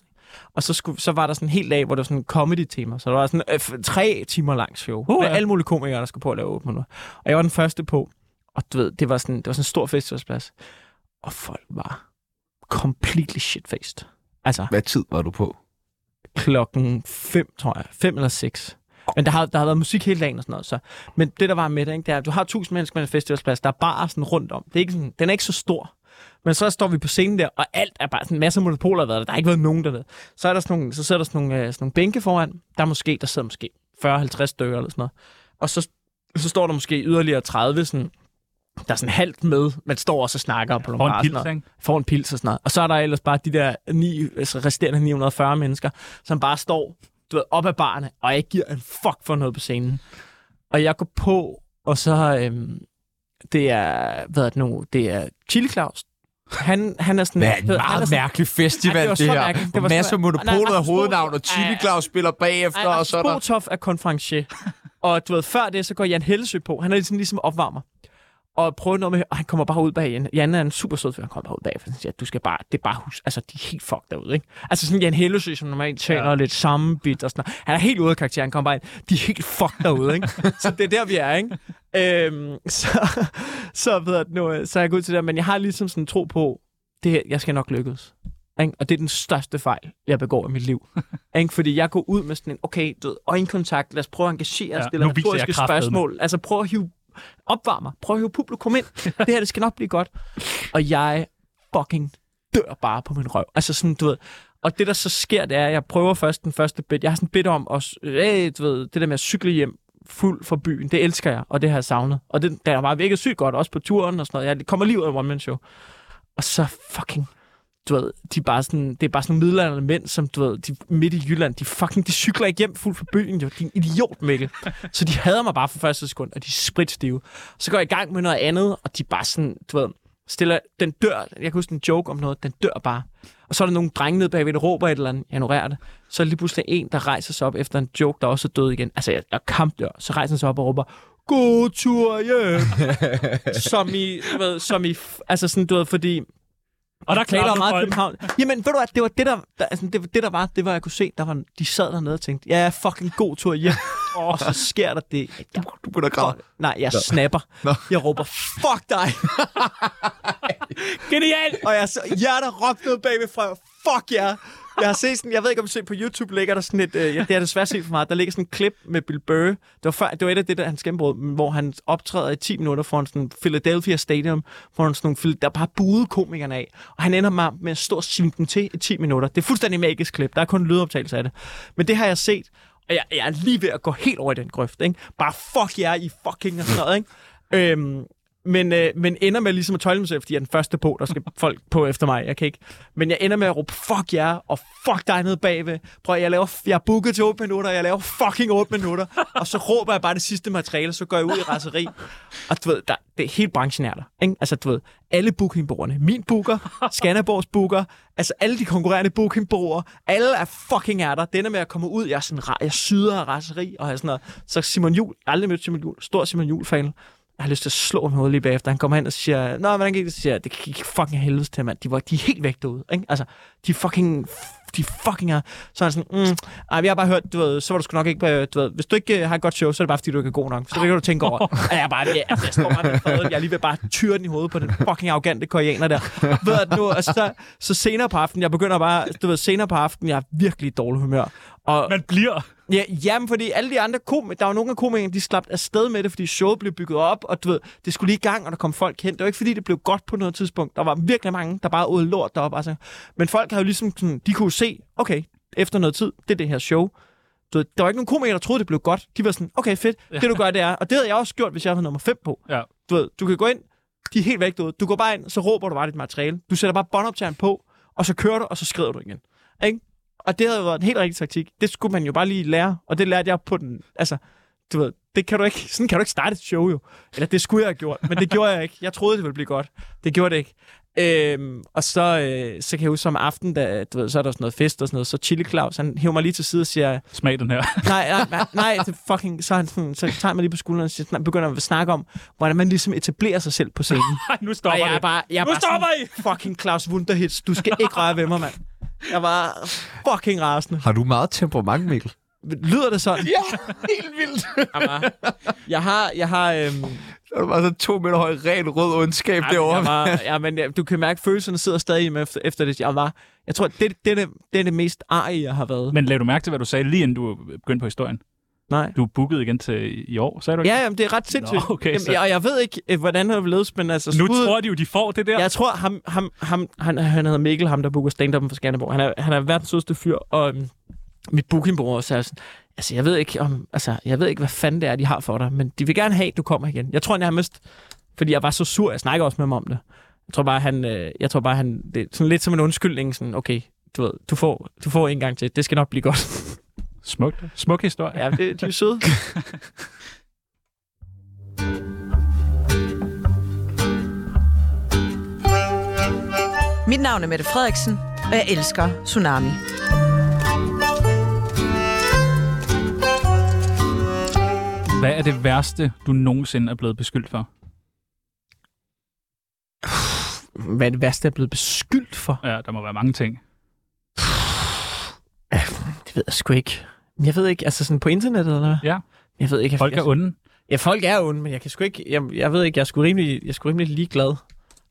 Speaker 3: Og så, skulle, så var der sådan en hel dag, hvor der var sådan en comedy-tema. Så der var sådan øh, f- tre timer lang show. Uh, med
Speaker 4: ja.
Speaker 3: alle mulige komikere, der skulle på at lave 8 minutter. Og jeg var den første på. Og du ved, det var sådan, det var sådan en stor festivalsplads. Og folk var completely shitfaced. Altså,
Speaker 1: Hvad tid var du på?
Speaker 3: klokken 5, tror jeg. 5 eller 6. Men der har, der har været musik hele dagen og sådan noget. Så. Men det, der var med det, ikke, det er, at du har 1000 mennesker med en festivalsplads. Der er bare sådan rundt om. Det er ikke sådan, den er ikke så stor. Men så står vi på scenen der, og alt er bare sådan en masse monopoler har været der. Der har ikke været nogen dernede. Så, er der sådan nogle, så sidder der sådan nogle, øh, sådan nogle bænke foran. Der er måske, der sidder måske 40-50 stykker eller sådan noget. Og så, så står der måske yderligere 30 sådan, der er sådan halvt med, man står også og snakker på nogle
Speaker 4: Og
Speaker 3: barer
Speaker 4: en
Speaker 3: og sådan noget
Speaker 4: pils, ikke?
Speaker 3: får en pils og sådan noget. Og så er der ellers bare de der ni, altså resterende 940 mennesker, som bare står du ved, op ad barne, og ikke giver en fuck for noget på scenen. Og jeg går på, og så... Øhm, det er, hvad er det nu? Det er Chili Claus, Han, han er sådan...
Speaker 1: Det er en
Speaker 3: han er
Speaker 1: meget
Speaker 3: sådan-
Speaker 1: mærkelig
Speaker 3: Ej,
Speaker 1: festival,
Speaker 3: det var
Speaker 1: det,
Speaker 3: så
Speaker 1: her.
Speaker 3: mærkeligt. Det var så
Speaker 1: Masser af
Speaker 3: mærkeligt. Nej,
Speaker 1: monopolet
Speaker 3: Rasmus
Speaker 1: af hovednavn,
Speaker 3: Bo-
Speaker 1: og Chili
Speaker 3: Ej,
Speaker 1: Claus spiller bagefter,
Speaker 3: Ej,
Speaker 1: og
Speaker 3: Rasmus
Speaker 1: så er der...
Speaker 3: Botoff er konferencier. og du ved, før det, så går Jan Hellesø på. Han er ligesom, ligesom opvarmer. Og prøver noget med, og han kommer bare ud bag Jan. Jan er en super sød fyr, han kommer bare ud bag, for han siger, du skal bare, det er bare hus, altså de er helt fucked derude, ikke? Altså sådan Jan Hellesø, som normalt taler ja. lidt sammenbit og sådan noget. Han er helt ude af karakter, han kommer bare ind, de er helt fucked derude, ikke? så det er der, vi er, ikke? Øhm, så, så, ved jeg, nu, øh, så er jeg gået til det, men jeg har ligesom sådan en tro på, det her, jeg skal nok lykkes. Ikke? Og det er den største fejl, jeg begår i mit liv. Ikke? Fordi jeg går ud med sådan en, okay, du ved, øjenkontakt, lad os prøve at engagere os,
Speaker 4: Ja,
Speaker 3: ja, stille
Speaker 4: nu viser jeg
Speaker 3: retoriske
Speaker 4: kraftedeme.
Speaker 3: spørgsmål. Altså prøv at hive opvarme mig, prøv at hive publikum ind. Det her, det skal nok blive godt. Og jeg fucking dør bare på min røv. Altså sådan, du ved, og det, der så sker, det er, at jeg prøver først den første bit. Jeg har sådan bedt om, at, øh, du ved, det der med at cykle hjem fuld for byen, det elsker jeg, og det har jeg savnet. Og det, der var virkelig sygt godt, også på turen og sådan noget. Jeg kommer lige ud af One Man Show. Og så fucking du ved, de er bare sådan, det er bare sådan nogle middelalderne mænd, som du ved, de midt i Jylland, de fucking, de cykler ikke hjem fuld for byen, jo. De er en idiot, Mikkel. Så de hader mig bare fra første sekund, og de er spritstive. Så går jeg i gang med noget andet, og de er bare sådan, du ved, stiller, den dør, jeg kan huske en joke om noget, den dør bare. Og så er der nogle drenge nede bagved, der råber et eller andet, jeg ignorerer det. Så er der lige pludselig en, der rejser sig op efter en joke, der også er død igen. Altså, jeg, jeg kampdør. Så rejser han sig op og råber, god tur hjem. som i, du ved, som i, f- altså sådan, du ved, fordi
Speaker 4: Og der
Speaker 3: taler
Speaker 4: klapper
Speaker 3: meget
Speaker 4: folk.
Speaker 3: København. Jamen, ved du hvad, det var det, der, der, altså, det, var det, der var, det var, jeg kunne se, der var, de sad dernede og tænkte, ja, fucking god tur hjem. og så sker der det. Jeg,
Speaker 1: Du begynder at græde.
Speaker 3: fuck, nej, jeg snapper. Jeg råber, fuck dig.
Speaker 4: Genialt!
Speaker 3: og jeg, så, jer, der råbte noget bagved fra, fuck jer. Jeg har set sådan, jeg ved ikke om du ser på YouTube, ligger der sådan et, øh, ja, det har jeg desværre set for meget, der ligger sådan et klip med Bill Burr. Det var, før, det var et af det der, hans gennembrud, hvor han optræder i 10 minutter foran sådan Philadelphia Stadium, foran sådan nogle, Phil- der bare buede komikerne af. Og han ender med, med at stå og svine dem til i 10 minutter. Det er fuldstændig magisk klip, der er kun lydoptagelse af det. Men det har jeg set, og jeg, jeg er lige ved at gå helt over i den grøft, ikke? Bare fuck jer, I fucking og sådan noget, ikke? Øhm, men, øh, men ender med ligesom at tøjle mig selv, fordi jeg er den første på, der skal folk på efter mig. Jeg kan ikke. Men jeg ender med at råbe, fuck jer, og fuck dig nede bagved. Prøv, at- jeg, laver, jeg er booket til 8 minutter, jeg laver fucking 8 minutter. Og så råber jeg bare det sidste materiale, og så går jeg ud i raseri. Og du ved, der, det er helt branchen er der. Ikke? Altså, du ved, alle bookingbureauerne. Min booker, Skanderborgs booker, altså alle de konkurrerende bookingbureauer, alle er fucking er der. Denne med at komme ud, jeg, er sådan, ra- jeg syder af raseri og har sådan noget. Så Simon Jul, aldrig mødt Simon Jul, stor Simon Jul-fan. Jeg har lyst til at slå ham i hovedet lige bagefter. Han kommer hen og siger, Nå, hvordan gik det? Så siger jeg, det gik fucking af helvedes til, mand. De, var, de er helt væk derude. Ikke? Altså, de er fucking... De fucking er... Så er han sådan, mm, ej, men jeg har bare hørt, du ved, så var du sgu nok ikke... øh, Du ved, hvis du ikke øh, har et godt show, så er det bare, fordi du ikke er god nok. Så det kan du tænke over. Og jeg er bare, ja, altså, jeg står bare med fadet. Jeg er lige ved bare at tyre den i hovedet på den fucking arrogante koreaner der. Ved at nu, og så, så senere på aftenen, jeg begynder bare... Du ved, senere på aftenen, jeg er virkelig i dårlig humør. Og,
Speaker 4: Man bliver...
Speaker 3: Ja, jamen, fordi alle de andre komikere, der var nogle af komikerne, de slap afsted med det, fordi showet blev bygget op, og du ved, det skulle lige i gang, og der kom folk hen. Det var ikke, fordi det blev godt på noget tidspunkt. Der var virkelig mange, der bare åd lort deroppe. Altså. Men folk havde jo ligesom sådan, de kunne se, okay, efter noget tid, det er det her show. Du ved, der var ikke nogen komikere, der troede, det blev godt. De var sådan, okay, fedt, det du gør, det er. Og det havde jeg også gjort, hvis jeg havde nummer 5 på.
Speaker 4: Ja.
Speaker 3: Du ved, du kan gå ind, de er helt væk derude. Du går bare ind, så råber du bare dit materiale. Du sætter bare båndoptageren på, og så kører du, og så skriver du igen. Ikke? Og det havde jo været en helt rigtig taktik. Det skulle man jo bare lige lære, og det lærte jeg på den... Altså, du ved, det kan du ikke, sådan kan du ikke starte et show jo. Eller det skulle jeg have gjort, men det gjorde jeg ikke. Jeg troede, det ville blive godt. Det gjorde det ikke. Øhm, og så, øh, så kan jeg huske, som aften, da, du ved, så er der sådan noget fest og sådan noget, så Chili Claus, han hiver mig lige til side og siger,
Speaker 4: Smag den her.
Speaker 3: nej, nej, nej, nej det er fucking, så, er han sådan, så tager man lige på skulderen og siger, sådan- begynder at snakke om, hvordan man ligesom etablerer sig selv på scenen.
Speaker 4: Ej, nu
Speaker 3: Og
Speaker 4: stopper
Speaker 3: jeg er
Speaker 4: det.
Speaker 3: bare, jeg er
Speaker 4: Nu
Speaker 3: bare
Speaker 4: stopper
Speaker 3: sådan, fucking Claus Wunderhits, du skal ikke røre ved mig, mand. Jeg var fucking rasende.
Speaker 1: Har du meget temperament, Mikkel?
Speaker 3: Lyder det sådan?
Speaker 1: Ja, helt vildt.
Speaker 3: Jamen, jeg har, jeg har, øhm,
Speaker 1: Der er bare sådan to meter høj, ren rød ondskab derovre.
Speaker 3: jeg var, ja, men jeg- du kan mærke, at følelserne sidder stadig i mig efter, efter det. Jeg var, jeg tror, det, det, er det, det er det mest arg, jeg har været. Men,
Speaker 4: Men lad du mærke til, hvad du sagde, lige inden du begyndte på historien?
Speaker 3: Nej.
Speaker 4: Du er booket igen til i år, sagde du ikke?
Speaker 3: Ja, jamen, det er ret sindssygt.
Speaker 4: Nå, okay,
Speaker 3: jamen,
Speaker 4: så-
Speaker 3: jeg, og jeg ved ikke, øh, hvordan det har ledes, men altså...
Speaker 4: Nu
Speaker 3: skuddet-
Speaker 4: tror de jo, de får det der.
Speaker 3: Jeg tror, ham, ham, ham, han, han hedder Mikkel, ham der booker stand for Skanderborg. Han er, han er verdens sødeste fyr, og øhm, mit bookingbureau også er sådan, altså jeg ved ikke, om, altså, jeg ved ikke, hvad fanden det er, de har for dig, men de vil gerne have, at du kommer igen. Jeg tror nærmest, fordi jeg var så sur, jeg snakker også med ham om det. Jeg tror bare, han, øh, jeg tror bare, han, det er sådan lidt som en undskyldning, sådan, okay, du ved, du får, du får en gang til, det skal nok blive godt.
Speaker 4: Smukt. Smuk historie.
Speaker 3: ja, det, de er søde.
Speaker 5: Mit navn er Mette Frederiksen, og jeg elsker Tsunami.
Speaker 4: Hvad er det værste, du nogensinde er blevet beskyldt for?
Speaker 3: Hvad er det værste, jeg er blevet beskyldt for?
Speaker 4: Ja, der må være mange ting.
Speaker 3: Det ved jeg sgu ikke. Men Jeg ved ikke, altså sådan på internettet eller hvad?
Speaker 4: Ja.
Speaker 3: Jeg ved ikke, jeg,
Speaker 4: Folk er
Speaker 3: jeg,
Speaker 4: onde.
Speaker 3: ja, folk er onde, men jeg kan sgu ikke, jeg, jeg ved ikke, jeg er sgu rimelig, jeg er sgu rimelig ligeglad.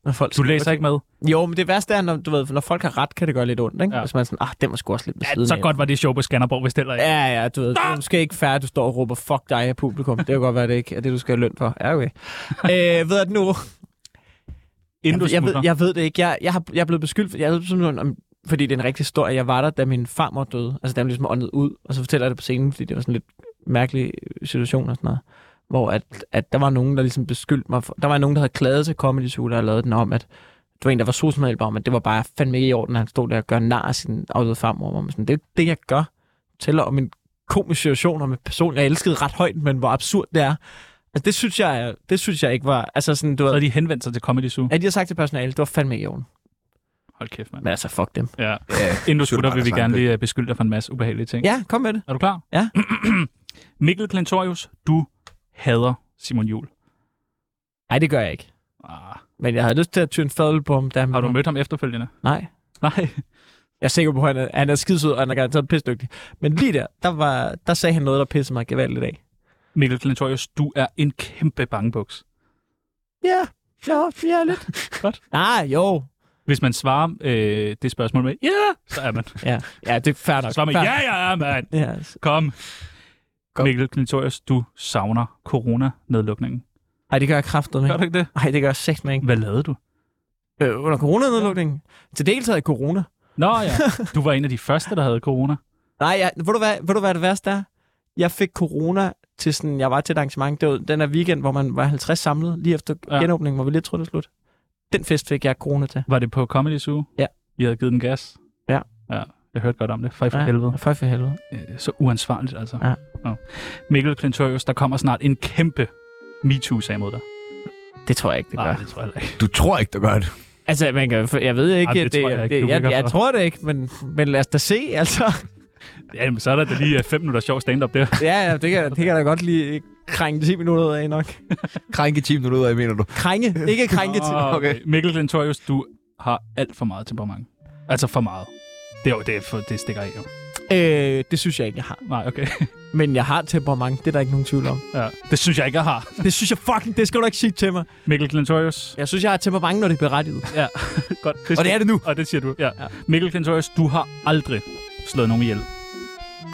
Speaker 3: Når folk
Speaker 4: Du
Speaker 3: skriver
Speaker 4: læser
Speaker 3: ting.
Speaker 4: ikke med.
Speaker 3: Jo, men det værste er, når, du ved, når folk har ret, kan det gøre lidt ondt, ikke?
Speaker 4: Ja.
Speaker 3: Ja. Hvis man er sådan, ah, den var sgu også lidt ved
Speaker 4: Ja,
Speaker 3: siden
Speaker 4: så
Speaker 3: af."
Speaker 4: godt var det show på Skanderborg, hvis det heller ikke.
Speaker 3: Ja, ja, du ved, det er måske ikke fair, at du står og råber fuck dig af publikum. Det kan godt være, det ikke er det, du skal have løn for. Ja, okay. øh, ved jeg det nu?
Speaker 4: Inden du
Speaker 3: jeg, jeg, ved,
Speaker 4: smutter.
Speaker 3: jeg ved det ikke. Jeg, jeg, har, jeg er blevet beskyldt, for- jeg er simpelthen, om, fordi det er en rigtig stor, at jeg var der, da min farmor døde. Altså, da hun ligesom åndede ud, og så fortæller jeg det på scenen, fordi det var sådan en lidt mærkelig øh, situation og sådan noget. Hvor at, at der var nogen, der ligesom beskyldte mig. For, der var nogen, der havde klaget til Comedy Zoo, der havde lavet den om, at det var en, der var sosumadhjælper om, at det var bare fandme ikke i orden, at han stod der og gør nar af sin afdøde farmor. Hvor man sådan, det er det, jeg gør. Jeg Tæller om en komisk situation om en person, jeg elskede ret højt, men hvor absurd det er. Altså, det synes jeg, er- det synes jeg ikke var... Altså, sådan, du
Speaker 4: Så
Speaker 3: ved,
Speaker 4: havde de henvendt sig til Comedy Zoo.
Speaker 3: at de har sagt til personalet, det var fandme ikke i orden.
Speaker 4: Hold kæft, mand.
Speaker 3: Men altså, fuck dem.
Speaker 4: Ja.
Speaker 1: Ja,
Speaker 4: Inden du
Speaker 1: Skulle
Speaker 4: smutter,
Speaker 1: bare
Speaker 4: vil vi
Speaker 1: have
Speaker 4: gerne
Speaker 1: sagt
Speaker 4: lige øh, beskylde dig for en masse ubehagelige ting.
Speaker 3: Ja, kom med det.
Speaker 4: Er du klar?
Speaker 3: Ja.
Speaker 4: Mikkel Klentorius, du hader Simon Jul.
Speaker 3: Nej, det gør jeg ikke.
Speaker 4: Ah,
Speaker 3: Men jeg havde lyst til at tyre en fadel på ham, da han
Speaker 4: har du
Speaker 3: var-
Speaker 4: mødt ham efterfølgende?
Speaker 3: Nej.
Speaker 4: Nej.
Speaker 3: Jeg er sikker på, at han er, han er skidesød, og han er garanteret pisdygtig. Men lige der, der, var, der sagde han noget, der pissede mig gevaldigt af.
Speaker 4: Mikkel Klentorius, du er en kæmpe bangebuks.
Speaker 3: Ja, ja, ja lidt.
Speaker 4: Godt.
Speaker 3: Nej, jo.
Speaker 4: Hvis man svarer øh, det spørgsmål med, ja, yeah! så er man.
Speaker 3: Ja, ja det er fair nok.
Speaker 4: Svar med,
Speaker 3: Fair-
Speaker 4: ja, ja, ja, mand.
Speaker 3: Ja, s-
Speaker 4: Kom.
Speaker 3: Kom.
Speaker 4: Mikkel Klintorius, du savner corona-nedlukningen.
Speaker 3: Ej, det gør jeg kraftet med.
Speaker 4: Gør du ikke det?
Speaker 3: Nej, det gør jeg sagt med ikke.
Speaker 4: Hvad lavede du?
Speaker 3: Øh, under coronanedlukningen? Til dels havde jeg corona.
Speaker 4: Nå ja, du var en af de første, der havde corona.
Speaker 3: Nej, jeg, ved, du hvad, ved du hvad det værste er? Jeg fik corona til sådan, jeg var til et arrangement, det var den her weekend, hvor man var 50 samlet, lige efter
Speaker 4: Ja.
Speaker 3: ja. genåbningen, hvor vi lidt troede det var slut. Den fest fik jeg corona til.
Speaker 4: Var det på Comedy Zoo?
Speaker 3: Ja.
Speaker 4: I havde givet den gas?
Speaker 3: Ja.
Speaker 4: ja. Jeg hørte godt om det. Fej for ja. helvede.
Speaker 3: For for helvede.
Speaker 4: Øh, Så uansvarligt, altså.
Speaker 3: Ja.
Speaker 4: Nå. Mikkel Klintorius, der kommer snart en kæmpe MeToo-sag mod dig.
Speaker 3: Det tror jeg ikke, det gør.
Speaker 4: Nej,
Speaker 3: Ej.
Speaker 4: det tror jeg heller ikke.
Speaker 1: Du tror ikke, du gør det.
Speaker 3: Altså, man kan, jeg ved ikke,
Speaker 4: Ej, det
Speaker 3: at det,
Speaker 4: tror jeg
Speaker 3: jeg,
Speaker 4: ikke, du
Speaker 3: det, jeg,
Speaker 4: ligger
Speaker 3: jeg,
Speaker 4: for.
Speaker 3: tror det ikke, men, men lad os da se, altså.
Speaker 4: Jamen, så er der da lige øh, fem minutter sjov stand-up der.
Speaker 3: Ja, ja det, kan, det kan jeg da godt lige krænge 10 minutter ud af nok.
Speaker 1: Krænke timen ud af, mener du?
Speaker 3: Krænge, ikke krænke til.
Speaker 4: Åh,
Speaker 1: okay.
Speaker 4: Mikkel Klintorius, du har alt for meget temperament. Altså for meget. Det, er jo, det, er for, det stikker af, jo.
Speaker 3: Øh, det synes jeg ikke, jeg har.
Speaker 4: Nej, okay.
Speaker 3: Men jeg har temperament, det er der ikke nogen tvivl om.
Speaker 4: Ja, det synes jeg ikke, jeg har.
Speaker 3: Det synes jeg fucking, det skal du ikke sige til mig.
Speaker 4: Mikkel Klintorius.
Speaker 3: Jeg synes, jeg har temperament, når det er berettiget.
Speaker 4: Ja, godt.
Speaker 1: Og det er det nu.
Speaker 4: Og det siger du, ja. ja.
Speaker 3: Ja.
Speaker 4: Mikkel Klintorius, du har aldrig slået nogen ihjel.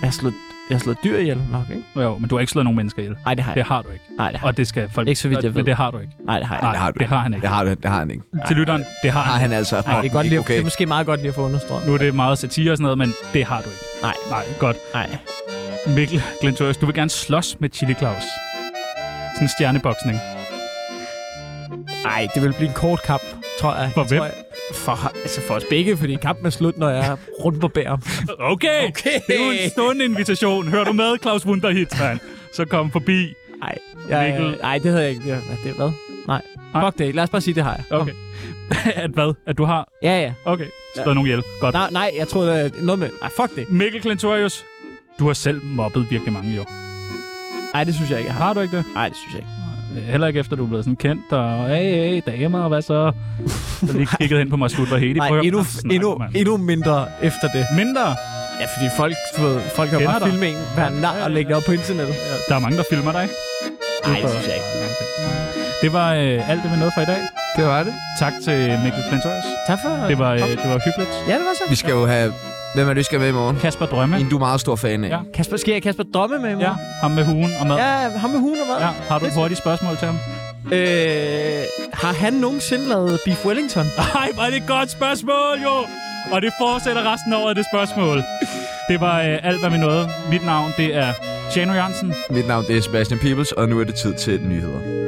Speaker 3: Jeg har slået, jeg har slået dyr ihjel nok, ikke?
Speaker 4: Jo, men du har ikke slået nogen mennesker ihjel.
Speaker 3: Nej, det har jeg
Speaker 4: Det
Speaker 3: ikke.
Speaker 4: har du ikke.
Speaker 3: Nej, det har jeg
Speaker 4: Og det skal folk...
Speaker 3: Ikke så vidt, jeg
Speaker 4: og-
Speaker 3: ved.
Speaker 4: Men det har du ikke.
Speaker 3: ikke. Nej, det har jeg
Speaker 4: Nej,
Speaker 3: ikke.
Speaker 4: det
Speaker 1: har
Speaker 4: har,
Speaker 1: du
Speaker 4: det har han ikke.
Speaker 1: Det har, det, det har han ikke.
Speaker 4: Til lytteren, det har
Speaker 1: Har
Speaker 4: han.
Speaker 1: han altså.
Speaker 3: Nej, det er godt lige, okay.
Speaker 1: Okay.
Speaker 3: det er måske meget godt lige at få understreget.
Speaker 4: Nu er det meget satire og sådan noget, men det har du ikke.
Speaker 3: Nej.
Speaker 4: Nej, godt.
Speaker 3: Nej.
Speaker 4: Mikkel Glentorius, du vil gerne slås med Chili Claus. Sådan en stjerneboksning.
Speaker 3: Nej, det vil blive en kort kamp, tror jeg.
Speaker 4: For
Speaker 3: jeg
Speaker 4: hvem?
Speaker 3: Tror, jeg, for, altså for os begge, fordi kampen er slut, når jeg er rundt på bærer.
Speaker 4: Okay.
Speaker 3: Okay.
Speaker 4: Det er jo en stående invitation. Hører du med, Claus Wunderhit, mand? Så kom forbi.
Speaker 3: Nej, jeg,
Speaker 4: Mikkel.
Speaker 3: nej, det havde jeg ikke. Det, er- det er hvad? Nej.
Speaker 4: Nej.
Speaker 3: Fuck det. Lad os bare sige, det har jeg. Kom.
Speaker 4: Okay. At hvad? At du har...
Speaker 3: Ja, ja.
Speaker 4: Okay. Slået nogen ihjel. Godt.
Speaker 3: Nej, nej, jeg troede, det var noget med... Nej, fuck det.
Speaker 4: Mikkel Klintorius, du har selv mobbet virkelig mange jo.
Speaker 3: Nej, det synes jeg ikke, jeg har.
Speaker 4: Har du ikke det?
Speaker 3: Nej, det synes jeg ikke.
Speaker 4: Heller ikke efter, du er blevet sådan kendt, og hey, hey, damer, og hvad så? Så lige kigget hen på mig, slutter hele.
Speaker 3: Nej, endnu, endnu, endnu mindre efter det.
Speaker 4: Mindre.
Speaker 3: Ja, fordi folk, du ved, folk har
Speaker 4: Kender
Speaker 3: bare
Speaker 4: dig.
Speaker 3: filmet en, hver nar og lægge det op på internettet.
Speaker 4: Der er mange, der filmer dig.
Speaker 3: Nej, det synes jeg ikke.
Speaker 4: Det var øh, alt, det vi nåede for i dag.
Speaker 1: Det var det.
Speaker 4: Tak til Mikkel Klintorius.
Speaker 3: Tak for...
Speaker 4: Det var, øh, det var hyggeligt.
Speaker 3: Ja, det var så.
Speaker 1: Vi skal jo have... Hvem er det, vi skal med i morgen?
Speaker 4: Kasper Drømme.
Speaker 1: En, du er meget stor fan af.
Speaker 4: Ja.
Speaker 3: Kasper, skal jeg Kasper Drømme med i
Speaker 4: Ja,
Speaker 3: morgen?
Speaker 4: ham med huen og mad.
Speaker 3: Ja, ham med hunden og hvad?
Speaker 4: Ja, har du et hurtigt spørgsmål til ham?
Speaker 3: Øh, har han nogensinde lavet Beef Wellington?
Speaker 4: Nej, var det et godt spørgsmål, jo! Og det fortsætter resten af året, det spørgsmål. Det var øh, alt, hvad vi nåede. Mit navn, det er Tjano Jørgensen.
Speaker 1: Mit navn det er Sebastian Peebles, og nu er det tid til nyheder.